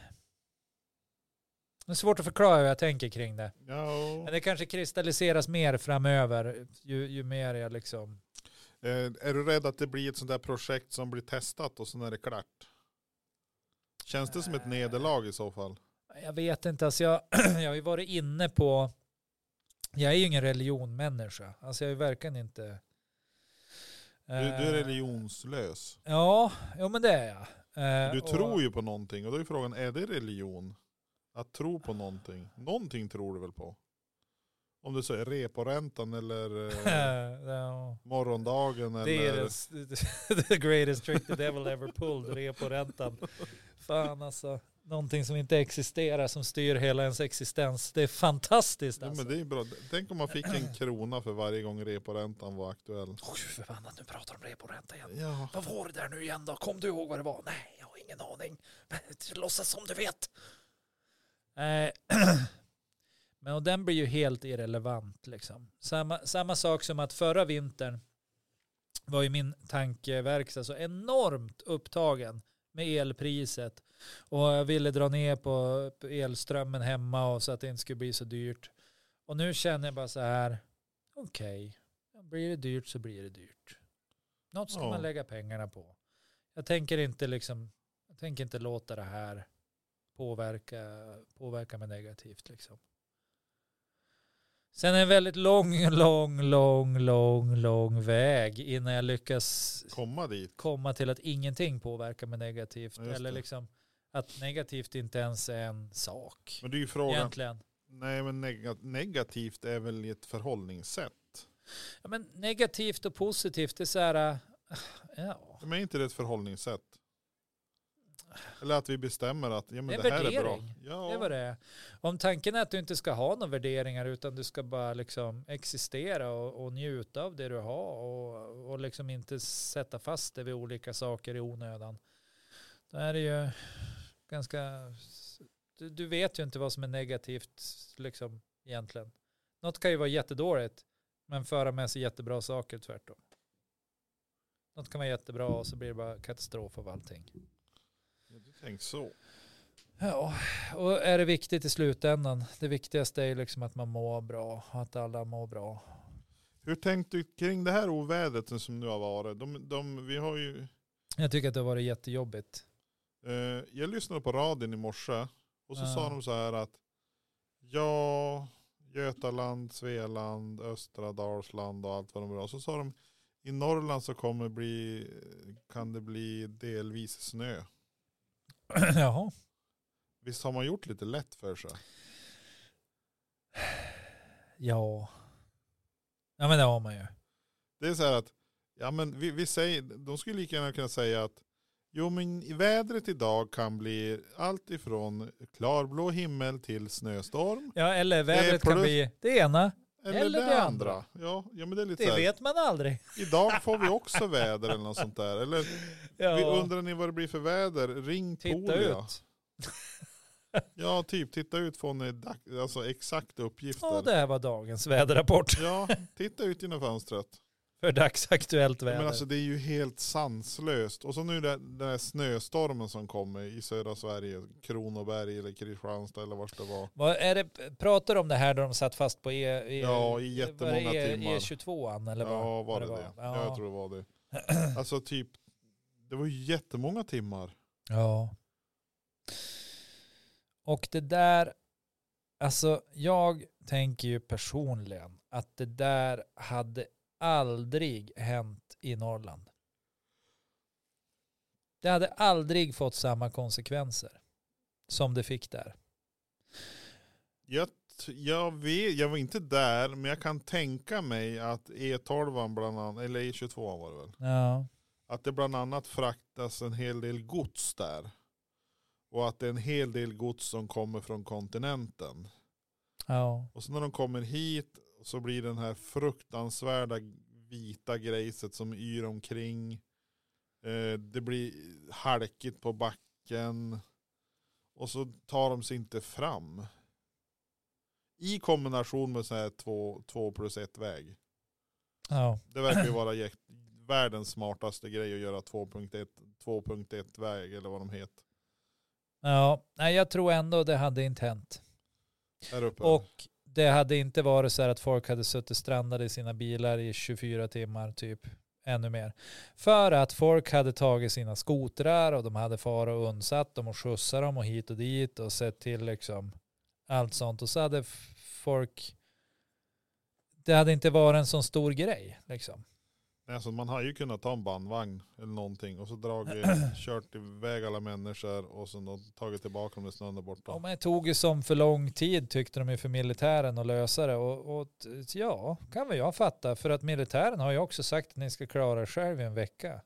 A: det är svårt att förklara hur jag tänker kring det.
C: ja.
A: Men det kanske kristalliseras mer framöver ju, ju mer jag liksom...
C: Eh, Är du rädd att det blir ett sånt där projekt som blir testat och sen är det klart? Känns det som ett
A: Äh.
C: nederlag i så fall?
A: Jag vet inte, alltså jag, jag har ju varit inne på, jag är ju ingen religionmänniska, alltså jag är ju verkligen inte... eh,
C: Du, du är religionslös.
A: Ja, jo men det är jag. Eh,
C: Du
A: och-
C: tror ju på någonting och då är frågan, är det religion? Att tro på någonting? Någonting tror du väl på? Om det så är reporäntan eller eh,
A: Ja,
C: morgondagen
A: det är
C: eller...
A: det- the greatest trick the devil ever pulled, reporäntan. Fan alltså, någonting som inte existerar som styr hela ens existens. Det är fantastiskt
C: Ja,
A: alltså.
C: men det är bra. Tänk om man fick en krona för varje gång reporäntan var aktuell.
A: Åh, gud förbannat, nu pratar de reporänta igen.
C: Ja,
A: Vad var det där nu igen då? Kom du ihåg vad det var? Nej, jag har ingen aning. Men låtsas som du vet. Nej. Men och den blir ju helt irrelevant liksom. Samma, samma sak som att förra vintern var ju min tankeverkstad så enormt upptagen med elpriset. Och jag ville dra ner på på elströmmen hemma och så att det inte skulle bli så dyrt. Och nu känner jag bara så här, okej, blir det dyrt så blir det dyrt. Något ska
C: Ja.
A: man lägga pengarna på. Jag tänker inte liksom, jag tänker inte låta det här påverka, påverka mig negativt liksom. Sen är det en väldigt lång, lång, lång, lång, lång väg innan jag lyckas
C: komma dit.
A: komma till att ingenting påverkar mig negativt.
C: Ja, just
A: eller
C: det.
A: liksom att negativt inte ens är en sak.
C: Men det är ju frågan,
A: Egentligen.
C: nej men nega- negativt är väl ett förhållningssätt.
A: Ja, men negativt och positivt, det är så här, äh, ja.
C: Men är inte det ett förhållningssätt? Eller att vi bestämmer att ja, men
A: Det är
C: det, här är bra.
A: värdering.
C: Ja,
A: Det var det. Om tanken är att du inte ska ha några värderingar utan du ska bara liksom existera och, och njuta av det du har och, och liksom inte sätta fast det vid olika saker i onödan. Då är det ju ganska... Du, du vet ju inte vad som är negativt liksom egentligen. Något kan ju vara jättedåligt men föra med sig jättebra saker tvärtom. Något kan vara jättebra och så blir det bara katastrof av allting.
C: Ja, Du tänker så.
A: Ja, och är det viktigt i slutändan? Det viktigaste är ju liksom att man mår bra och att alla mår bra.
C: Hur tänkte du kring det här ovädret som nu har varit? De, de, vi har ju,
A: Jag tycker att det har varit jättejobbigt.
C: eh, jag lyssnade på radion i morse och så
A: Ja.
C: sa de så här att ja, Götaland, Svealand, östra Dalsland och allt vad de vill ha. Så sa de i Norrland så kommer bli, kan det bli delvis snö.
A: Jaha.
C: Visst har man gjort lite lätt för sig?
A: Ja. Ja men det har man ju.
C: Det är så här att, ja men vi, vi säger, de skulle lika gärna kunna säga att Jo, men i vädret idag kan bli allt ifrån klarblå himmel till snöstorm.
A: Ja, eller vädret kan
C: plus-
A: bli det ena.
C: Eller,
A: Eller
C: det,
A: det
C: andra. Ja, ja, men det är lite
A: Det
C: så här.
A: vet man aldrig.
C: Idag får vi också väder eller något sånt där. Eller vi
A: Ja,
C: undrar ni vad det blir för väder? Ring
A: titta
C: Polia.
A: ut.
C: Ja, typ titta ut får ni dak- alltså, exakta uppgifter.
A: Ja, det här var dagens väderrapport
C: Ja, titta ut genom fönstret.
A: för dagsaktuellt
C: Men
A: väder.
C: alltså det är ju helt sanslöst. Och så nu den den här snöstormen som kommer i södra Sverige, Kronoberg eller Kristianstad eller vart det var.
A: Vad är det, pratar du om det här där de satt fast på E, e
C: Ja, i jättemånga
A: var det e,
C: timmar.
A: E22 eller vad?
C: Ja, var
A: vad
C: det
A: var.
C: det? Ja,
A: Ja.
C: jag tror det var det. Alltså typ, det var ju jättemånga timmar.
A: Ja. Och det där, alltså jag tänker ju personligen att det där hade aldrig hänt i Norrland. Det hade aldrig fått samma konsekvenser som det fick där.
C: Jag, t- jag, vet, jag var inte där, men jag kan tänka mig att E12 bland annat, eller E22 var det väl,
A: Ja,
C: att det bland annat fraktas en hel del gods där. Och att det är en hel del gods som kommer från kontinenten.
A: ja,
C: Och så när de kommer hit så blir den här fruktansvärda vita grejset som yr omkring. Eh, det blir halkigt på backen. Och så tar de sig inte fram. I kombination med så här två, två plus ett väg.
A: ja,
C: Det verkar ju vara jäk- världens smartaste grej att göra 2.1 2.1 väg eller vad de heter.
A: ja. Nej, jag tror ändå det hade inte hänt.
C: Här uppe.
A: Och det hade inte varit så här att folk hade suttit strandade i sina bilar i 24 timmar typ. Ännu mer. För att folk hade tagit sina skotrar och de hade far och undsatt dem och skjutsat dem och hit och dit och sett till liksom allt sånt. Och så hade f- folk, det hade inte varit en sån stor grej liksom.
C: Alltså man har ju kunnat ta en bandvagn eller någonting och så dragit, kört iväg alla människor och sen då tagit tillbaka dem när snön är borta.
A: Ja, men det tog ju som för lång tid tyckte de ju för militären att lösa det. Och, och t- ja, kan väl jag fatta. För att militären har ju också sagt att ni ska klara er själv i en vecka.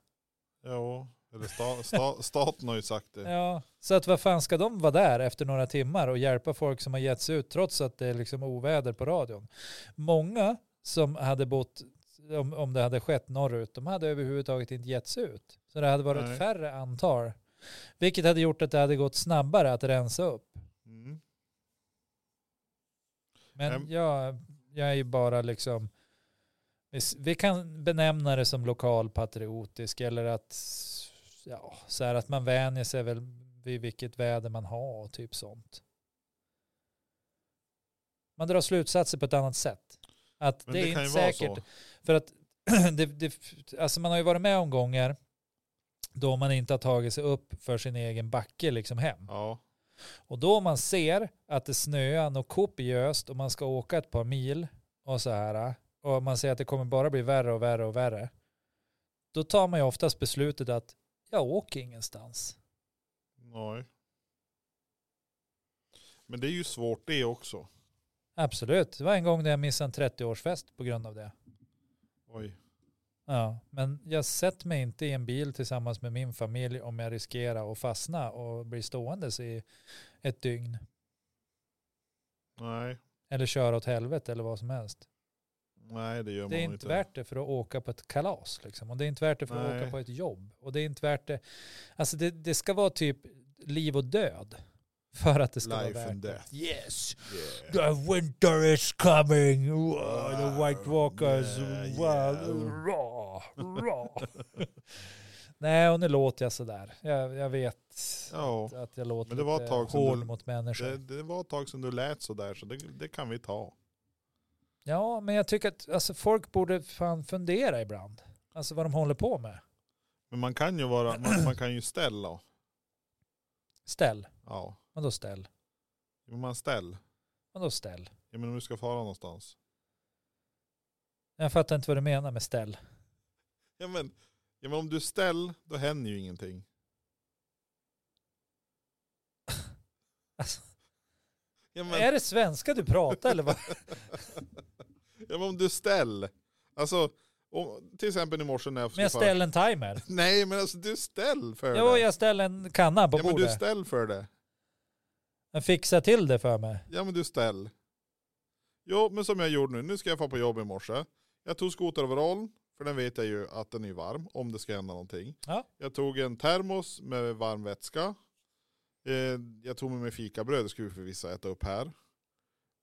C: Jo, eller sta, sta, staten har ju sagt det.
A: Ja, så att vad fan ska de vara där efter några timmar och hjälpa folk som har gett sig ut trots att det är liksom oväder på radion? Många som hade bott, om, om det hade skett norrut, de hade överhuvudtaget inte gett sig ut. Så det hade varit
C: Nej.
A: ett färre antal, vilket hade gjort att det hade gått snabbare att rensa upp.
C: Mm.
A: Men
C: Ehm.
A: jag, jag är ju bara liksom, vi, s- vi kan benämna det som lokalpatriotisk eller att, ja, så här att man vänjer sig väl vid vilket väder man har och typ sånt. Man drar slutsatser på ett annat sätt. Att
C: Men
A: det,
C: det,
A: är
C: kan ju
A: inte
C: vara
A: säkert.
C: så.
A: För att det, det, alltså man har ju varit med om gånger då man inte har tagit sig upp för sin egen backe liksom hem.
C: Ja,
A: Och då man ser att det snöar något kopiöst och man ska åka ett par mil och så här och man ser att det kommer bara bli värre och värre och värre. Då tar man ju oftast beslutet att jag åker ingenstans.
C: nej. Men det är ju svårt det också.
A: Absolut, det var en gång där jag missade en 30-årsfest på grund av det.
C: Oj.
A: Ja, men jag sätter mig inte i en bil tillsammans med min familj om jag riskerar att fastna och bli ståendes i ett dygn.
C: Nej,
A: Eller köra åt helvete eller vad som helst.
C: nej det gör man
A: Det är
C: nog
A: inte värt det för att åka på ett kalas. Liksom. Och det är inte värt det för att
C: Nej.
A: åka på ett jobb. Och det är inte värt det. Alltså det, det ska vara typ liv och död. För att det ska
C: Life
A: vara värt
C: and
A: det.
C: death.
A: Yes,
C: Yeah.
A: the winter is coming. Wow, the white walkers.
C: Yeah,
A: Wow,
C: yeah.
A: rah, rah. Nej, och nu låter jag sådär. Jag, jag vet
C: Ja,
A: att jag låter
C: Men det var ett
A: lite
C: tag sedan
A: hård
C: du-
A: mot människor.
C: det, det var ett tag sedan du lät så där så det, det kan vi ta.
A: Ja, men jag tycker att alltså, folk borde fan fundera ibland. Alltså vad de håller på med.
C: Men man kan ju vara, man, man kan ju ställa.
A: Ställ.
C: Ja,
A: Vadå ställ?
C: men man ställ.
A: Vadå ställ?
C: Ja men om du ska fara någonstans.
A: Jag fattar inte vad du menar med ställ.
C: Ja men, ja, men om du ställ, då händer ju ingenting.
A: Alltså.
C: Ja
A: Är
C: men,
A: det svenska du pratar eller vad?
C: ja men om du ställ. Alltså, Och till exempel i morse när jag
A: Men jag
C: skulle fara-
A: ställer en timer.
C: Nej men alltså du ställ för
A: Jo,
C: det.
A: jag ställer en kanna på
C: ja men du
A: bordet.
C: ställ för det.
A: Men fixa till det för mig.
C: Ja men du ställ. Jo men som jag gjorde nu, nu ska jag få på jobb i morse. Jag tog skoteroverallen, för den vet jag ju att den är varm om det ska hända någonting.
A: Ja.
C: Jag tog en termos med varm vätska. Eh, jag tog med mig fikabröd, det ska vi förvisso äta upp här.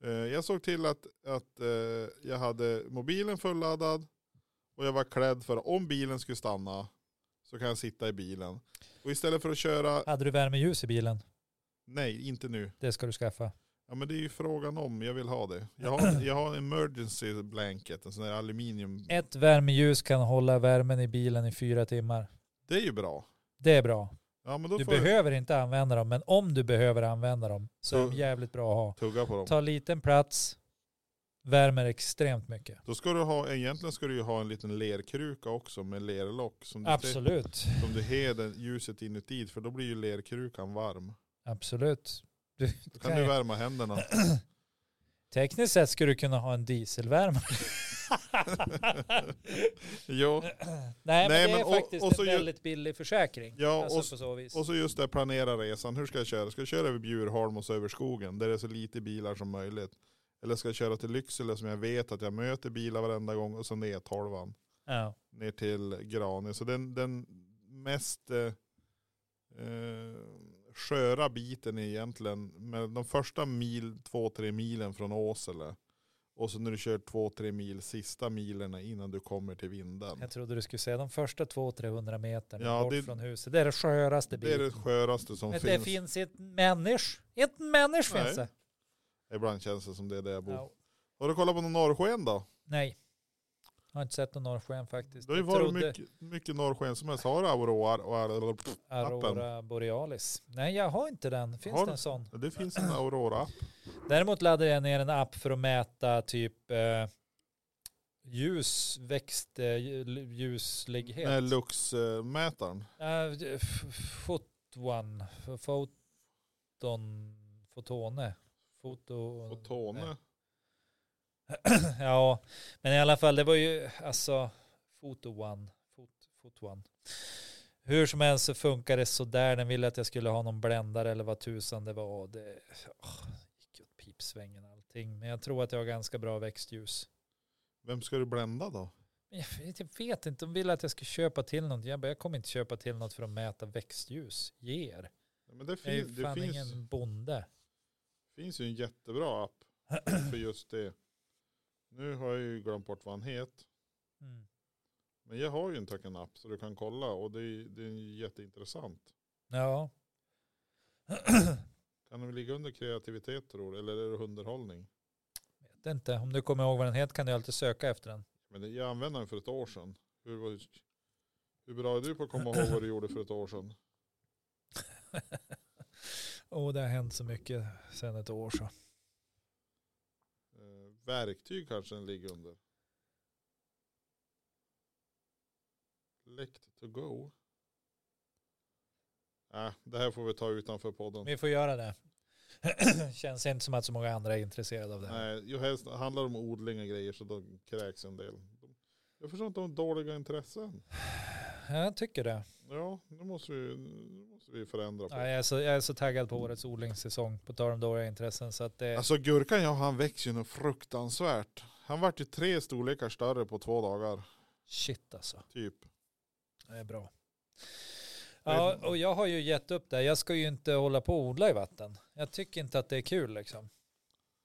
C: Eh, jag såg till att, att eh, jag hade mobilen fulladdad och jag var klädd för om bilen skulle stanna så kan jag sitta i bilen. Och istället för att köra,
A: Hade du värmeljus i bilen?
C: nej inte nu,
A: Det ska du skaffa.
C: Ja men det är ju frågan om, jag vill ha det. Jag har, jag har en emergency blanket, en sån där aluminium.
A: Ett värmeljus kan hålla värmen i bilen i fyra timmar.
C: Det är ju bra.
A: Det är bra.
C: Ja men då
A: Du
C: får jag
A: behöver inte använda dem, men om du behöver använda dem så är de
C: Så-
A: jävligt bra att ha.
C: tugga på dem.
A: Ta liten plats, värmer extremt mycket.
C: Då ska du ha, egentligen ska du ju ha en liten lerkruka också med lerlock. Som du,
A: Absolut,
C: Som du heder ljuset inuti, för då blir ju lerkrukan varm.
A: absolut. Du,
C: Då kan
A: kan
C: du
A: ju-
C: värma händerna.
A: tekniskt sett skulle du kunna ha en dieselvärmare.
C: jo.
A: Nej,
C: Nej,
A: men det
C: men
A: är
C: och-
A: faktiskt
C: och så
A: en
C: ju-
A: väldigt billig försäkring.
C: Ja,
A: alltså
C: och s-
A: på så vis.
C: Och så just det, planera resan. Hur ska jag köra? Ska jag köra över Bjurholm och så över skogen? Där det är så lite bilar som möjligt. Eller ska jag köra till Lycksele som jag vet att jag möter bilar varenda gång och så ner tolvan.
A: ja.
C: ner till Granen. Så den, den mest eh, eh, sköra biten är egentligen med de första mil, två, tre milen från Åsele. Och så när du kör två, tre mil sista milerna innan du kommer till Vindeln.
A: Jag trodde du skulle säga de första 200-300 meterna
C: Ja,
A: bort
C: det-
A: från huset. Det är det sköraste
C: Det är
A: biten.
C: det sköraste som
A: Men
C: finns.
A: det finns inte människ. Inte människ
C: Nej.
A: finns det.
C: Ibland känns det som det är där jag bor.
A: Ja.
C: Har du kollat på någon norrsken då?
A: Nej. Jag har inte sett någon norrsken faktiskt.
C: Det har ju
A: Jag
C: varit
A: trodde
C: mycket, mycket norrsken som helst. Har du aurorar och auror-
A: Aurora borealis. Nej, jag har inte den. Finns
C: Har
A: det
C: du?
A: en sån?
C: Det finns en aurora.
A: Däremot laddade jag ner en app för att mäta typ eh, ljus, växt, eh, lj- ljuslighet.
C: Nej, Lux-mätaren.
A: Eh, f- Fotwan, f- foton, fotone, foto...
C: Fotone.
A: Ja, men i alla fall, det var ju alltså foto one, fot, fot one. Hur som helst så funkar det sådär. Den ville att jag skulle ha någon bländare eller vad tusan det var. Och Det åh, gick åt pipsvängen allting. Men jag tror att jag har ganska bra växtljus.
C: Vem ska du blända då?
A: Men Jag vet, jag vet inte, de ville att jag skulle köpa till något. Jag bara, jag kommer inte köpa till något för att mäta växtljus. Ge er.
C: Ja, Men det,
A: Jag är
C: fin-
A: ju
C: det
A: fan
C: finns,
A: ingen bonde.
C: finns ju en jättebra app för just det. Nu har jag ju glömt bort vad han heter.
A: Mm.
C: Men jag har ju en Töcken app så du kan kolla och det är, det är jätteintressant.
A: Ja,
C: Kan den ligga under kreativitet tror du? Eller är det underhållning?
A: vet inte. Om du kommer ihåg vad den heter kan du alltid söka efter den.
C: Men det- jag använde den för ett år sedan. Hur, var- hur bra är du på att komma ihåg vad du gjorde för ett år sedan?
A: Åh, det har hänt så mycket sedan ett år så.
C: Eh, verktyg kanske den ligger under. Lect to go. Äh, det här får vi ta utanför podden.
A: Vi får göra det. Känns inte som att så många andra är intresserade av det. här.
C: Nej, ju helst handlar det om odling och grejer så då kräks en del. Jag förstår inte de dåliga intressen.
A: Jag tycker det.
C: Ja, nu måste vi, nu måste vi förändra på.
A: Ja, jag, är så, jag är så taggad på årets odlingssäsong på tal om dåliga intressen. Så att det,
C: Alltså gurkan, ja han växer ju något fruktansvärt. Han vart ju tre storlekar större på två dagar,
A: shit alltså,
C: typ.
A: det är bra. Ja, och jag har ju gett upp det. Jag ska ju inte hålla på och odla i vatten. Jag tycker inte att det är kul liksom.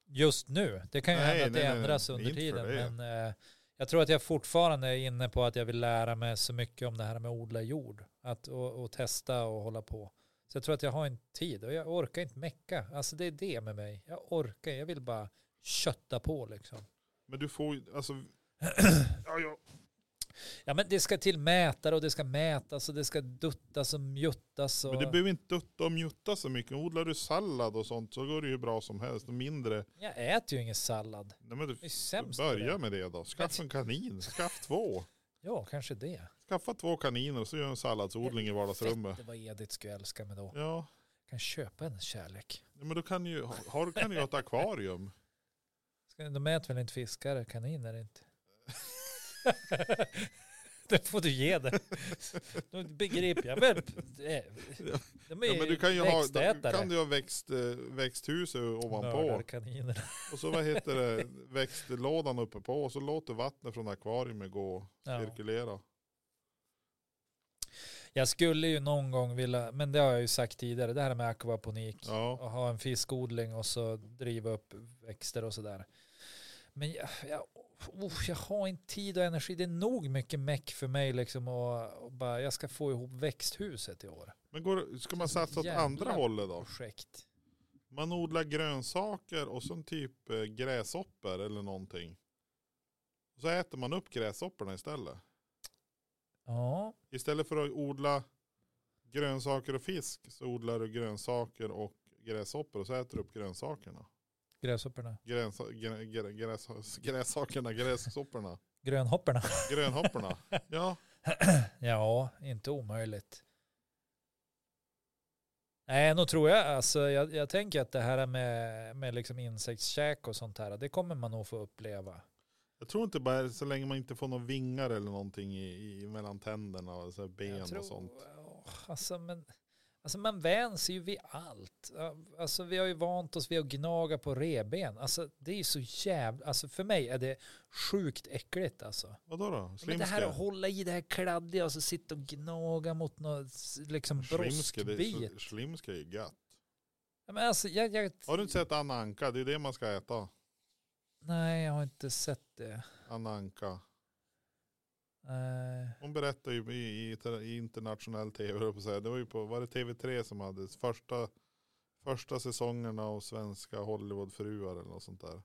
A: Just nu. Det kan ju
C: Nej,
A: hända att
C: nej,
A: det
C: nej, nej.
A: ändras under
C: Inte för
A: tiden.
C: det.
A: Men eh, jag tror att jag fortfarande är inne på att jag vill lära mig så mycket om det här med att odla jord. Att, och, och testa och hålla på. Så jag tror att jag har inte tid och jag orkar inte mecka. Alltså det är det med mig. Jag orkar, jag vill bara kötta på liksom.
C: Men du får ju, alltså, ja, ja.
A: Ja men det ska till mätare och det ska mätas och det ska duttas och mjuttas. Och...
C: Men du behöver inte dutta och mjutta så mycket. Odlar du sallad och sånt så går det ju bra som helst. Och mindre,
A: Jag äter ju ingen sallad.
C: nej men du,
A: Jag är sämst på
C: börja
A: det.
C: med det då. Skaffa en kanin, skaffa två.
A: Ja, kanske det.
C: Skaffa två kaniner och så gör en salladsodling i vardagsrummet.
A: Det var Edith skulle älska mig då.
C: Ja,
A: Jag kan köpa hennes kärlek.
C: ja, men då kan ju, har, du kan ju ha ett akvarium.
A: Ska- De äter väl inte fiskar, kaniner inte? det får du ge det. Då begriper jag väl. Eh, De, de är
C: Ja, men du kan ju ha, då
A: växtätare.
C: kan du ha växt, eh, växthus ovanpå.
A: Mördar kaninerna.
C: Och så vad heter det, växtlådan uppe på. Och så låter vattnet från akvariet gå och
A: Ja.
C: cirkulera.
A: Jag skulle ju någon gång vilja, men det har jag ju sagt tidigare, det här med akvaponik.
C: Ja.
A: och ha en fiskodling och så driva upp växter och sådär. Men jag, jag, oh, jag har inte tid och energi. Det är nog mycket meck för mig liksom och, och bara jag ska få ihop växthuset i år.
C: Men går, ska man satsa åt
A: Jävlar.
C: andra hållet då?
A: Projekt.
C: Man odlar grönsaker och sen typ eh, gräshoppor eller någonting. Så äter man upp gräshopporna istället.
A: Ja,
C: Istället för att odla grönsaker och fisk så odlar du grönsaker och gräshoppor och så äter du upp grönsakerna.
A: gräshopporna.
C: Gränsa, grä, grä, gräs, grässakerna, gräshopporna,
A: Grönhopporna.
C: grönhopporna. Ja,
A: Ja, inte omöjligt. Nej, nog tror jag, alltså, jag, jag tänker att det här med, med liksom insektskäk och sånt här, det kommer man nog få uppleva.
C: jag tror inte bara så länge man inte får några vingar eller någonting i, i mellan tänderna och så här ben
A: Jag tror-
C: och sånt.
A: ja, Alltså, men, alltså man vänjer sig ju vid allt. Ja, Alltså vi har ju vant oss vid att gnaga på reben. Alltså det är ju så jävla, alltså för mig är det sjukt äckligt alltså.
C: Vadå då?
A: Men det här
C: Slimska?
A: att hålla i det här kladdiga och så sitta och gnaga mot något liksom
C: Slimska, det
A: broskbit.
C: är, slimska är ju gött.
A: Ja, Men alltså jag, jag,
C: Har du inte sett Anna Anka? Det är det man ska äta.
A: nej jag har inte sett det.
C: Anna Anka.
A: Nej.
C: Hon berättar ju i, i, i internationell tv, höll jag på att säga. Det var ju på, var det TV3 som hade första, första säsongerna av svenska Hollywoodfruar eller något sånt där.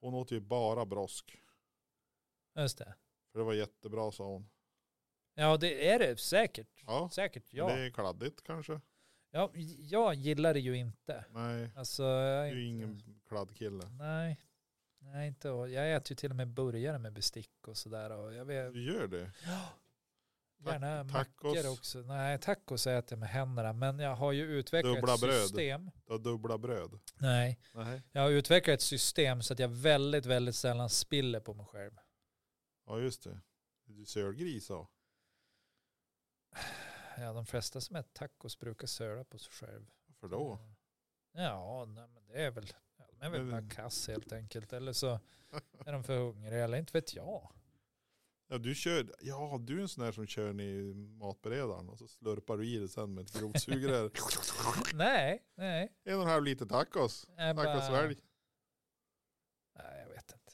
C: Hon åt ju bara brosk.
A: just det.
C: För det var jättebra sa hon.
A: Ja det är det säkert.
C: Ja,
A: Säkert
C: ja. det
A: ja.
C: är kladdigt kanske.
A: ja. Jag gillar det ju inte.
C: Nej,
A: Alltså jag
C: det
A: är
C: är ju
A: inte-
C: ingen kladdkille.
A: Nej, nej inte. och- Jag äter ju till och med burgare med bestick och sådär. Och jag vet,
C: Du gör det?
A: gärna
C: tacos.
A: mackor också. Nej, tacos äter jag med händerna. Men jag har ju utvecklat
C: Dubbla
A: ett
C: bröd.
A: system.
C: Du har dubbla bröd?
A: Nej,
C: Nej.
A: jag har utvecklat ett system så att jag väldigt, väldigt sällan spiller på mig själv.
C: Ja just det. Du sölgris sa.
A: Ja, de flesta som äter tacos brukar söla på sig själv. Mm.
C: Varför då?
A: Ja, nej, men det är väl, ja, de är väl
C: Men-
A: bara kass helt enkelt. Eller så är de för hungriga, eller inte vet jag.
C: Ja du kör, ja du är en sån där som kör ner i matberedaren och så slurpar du i det sen med ett grovt sugrör.
A: Nej, nej.
C: En och en halv liter tacos.
A: Jag
C: Tacosvälj.
A: Nej, jag vet inte.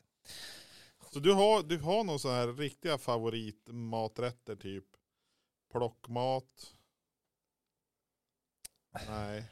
C: Så du har, du har någon sån här riktiga favoritmaträtter typ? Plockmat? Nej.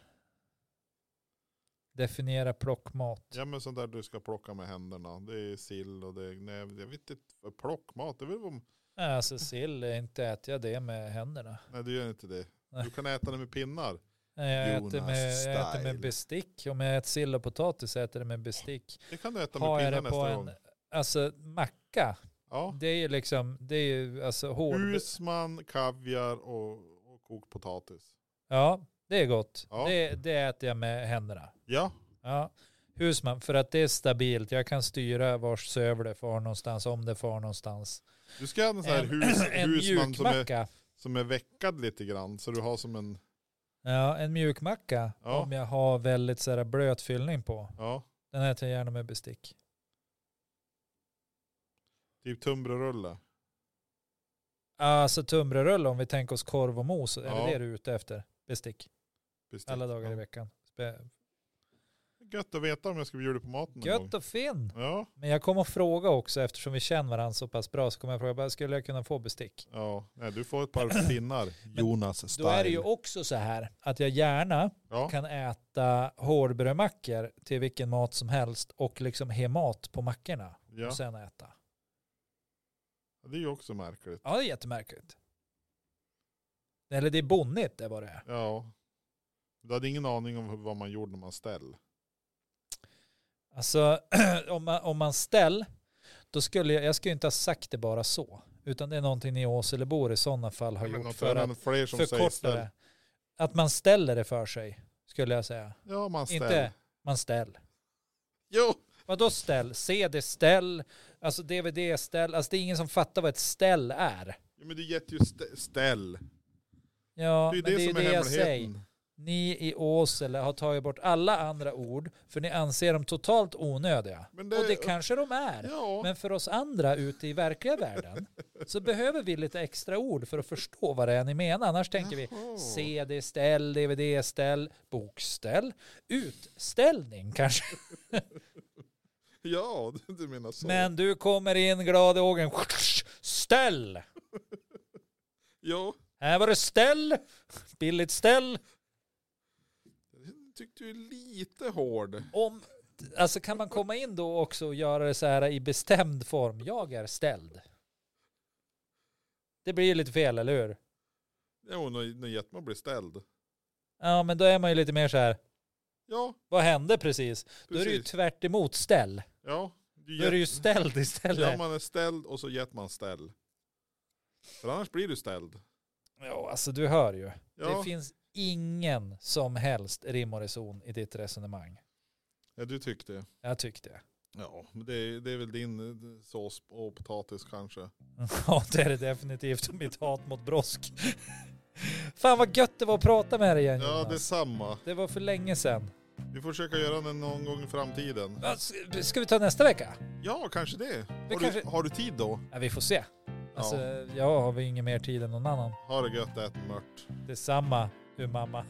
A: Definiera plockmat.
C: Ja men sånt där du ska plocka med händerna. Det är sill och det är, nej jag vet inte. Plockmat, det är väl vad-
A: Nej, Alltså sill, är inte äter jag det med händerna.
C: Nej du gör inte det.
A: Nej.
C: Du kan äta det med pinnar.
A: Nej, Jag
C: Jonas
A: äter, med, jag äter
C: style.
A: med bestick. Om jag äter sill och potatis äter jag det med bestick.
C: Det kan du äta med
A: Har
C: pinnar
A: jag det
C: nästa
A: på
C: gång.
A: en alltså, macka,
C: Ja.
A: det är ju liksom, det är ju alltså hård...
C: Husman, kaviar och, och kokt potatis.
A: Ja, det är gott.
C: Ja.
A: Det, det äter jag med händerna.
C: Ja,
A: Ja. Husman, för att det är stabilt. Jag kan styra vars sövle far någonstans, om det far någonstans.
C: du ska ha en sån här
A: En-
C: hus,
A: En
C: husman som är,
A: mjukmacka.
C: som är veckad lite grann. Så du har som en,
A: Ja, en mjukmacka.
C: Ja.
A: Om jag har väldigt så här, blöt fyllning på.
C: ja,
A: Den äter jag gärna med bestick.
C: typ tunnbrödsrulle.
A: Alltså tunnbrödsrulle om vi tänker oss korv och mos. Är
C: Ja.
A: det det du är ute efter? Bestick.
C: Bestick.
A: Alla dagar i
C: Ja.
A: veckan. Spe-
C: Gött att veta om jag ska bjuda på maten någon
A: Gött och fin.
C: gång. Ja,
A: Men jag kommer att fråga också eftersom vi känner varandra så pass bra så kommer jag fråga, bara, skulle jag kunna få bestick?
C: ja. Nej, du får ett par pinnar. Jonas
A: Då är det ju också så här att jag gärna
C: Ja,
A: kan äta hårdbrödmackor till vilken mat som helst och liksom he mat på mackorna
C: ja.
A: och sen äta.
C: Det är ju också märkligt.
A: Ja, det är jättemärkligt. Eller det är bonnigt, det är vad det är.
C: Ja. Du hade ingen aning om vad man gjorde när man ställ.
A: Alltså om man, om man ställ, då skulle jag, jag skulle ju inte ha sagt det bara så. Utan det är någonting ni Åselebor i sådana fall har
C: Men
A: gjort
C: något
A: för att
C: annat, fler som säger
A: förkorta
C: ställ.
A: det. Att man ställer det för sig, skulle jag säga.
C: Ja, man ställ.
A: Inte man ställ.
C: Jo,
A: Vadå ställ? CD-ställ? Alltså DVD-ställ? Alltså det är ingen som fattar vad ett ställ är.
C: Ja, men det heter ju st- ställ.
A: Ja,
C: det är
A: men det är
C: ju det,
A: ju
C: som är
A: det jag säger.
C: hemligheten.
A: Ni i Åsele har tagit bort alla andra ord för ni anser dem totalt onödiga.
C: Men det-
A: Och det kanske de är.
C: Ja,
A: Men för oss andra ute i verkliga världen så behöver vi lite extra ord för att förstå vad det är ni menar. Annars tänker vi
C: Jaha.
A: CD-ställ, DVD-ställ, bokställ, utställning kanske.
C: ja du- du menar så.
A: Men du kommer in glad i ågen. Ställ!
C: Ja,
A: Här var det ställ. Billigt ställ.
C: tyckte du är lite hård.
A: Om, alltså kan man komma in då också och göra det så här i bestämd form. Jag är ställd. Det blir ju lite fel, eller hur?
C: Jo, när när Jetman blir ställd.
A: Ja, men då är man ju lite mer så här.
C: Ja,
A: Vad hände precis? Då är det ju
C: precis.
A: tvärt emot ställ.
C: Ja, du
A: Då är det ju ställd
C: ja,
A: istället.
C: man är ställd och så Jetman ställ. För annars blir du ställd.
A: Ja, alltså du hör ju.
C: Ja,
A: Det finns ingen som helst rim och reson i ditt resonemang.
C: ja du tyckte.
A: Jag tyckte.
C: Ja, men det, är- det är väl din eh, sås och potatis kanske.
A: Ja, det är det definitivt. Mitt hat mot brosk. Fan vad gött det var att prata med dig igen
C: Ja,
A: Jonas.
C: det är samma.
A: Det var för länge sedan.
C: Vi får försöka göra den någon gång i framtiden.
A: Ja, s- Ska vi ta nästa vecka?
C: Ja, kanske det. Har,
A: kanske-
C: Du, har du tid då?
A: Ja, vi får se. Alltså,
C: Ja,
A: jag har väl ingen mer tid än någon annan.
C: ha det gött, ät mört.
A: Detsamma, du mamma.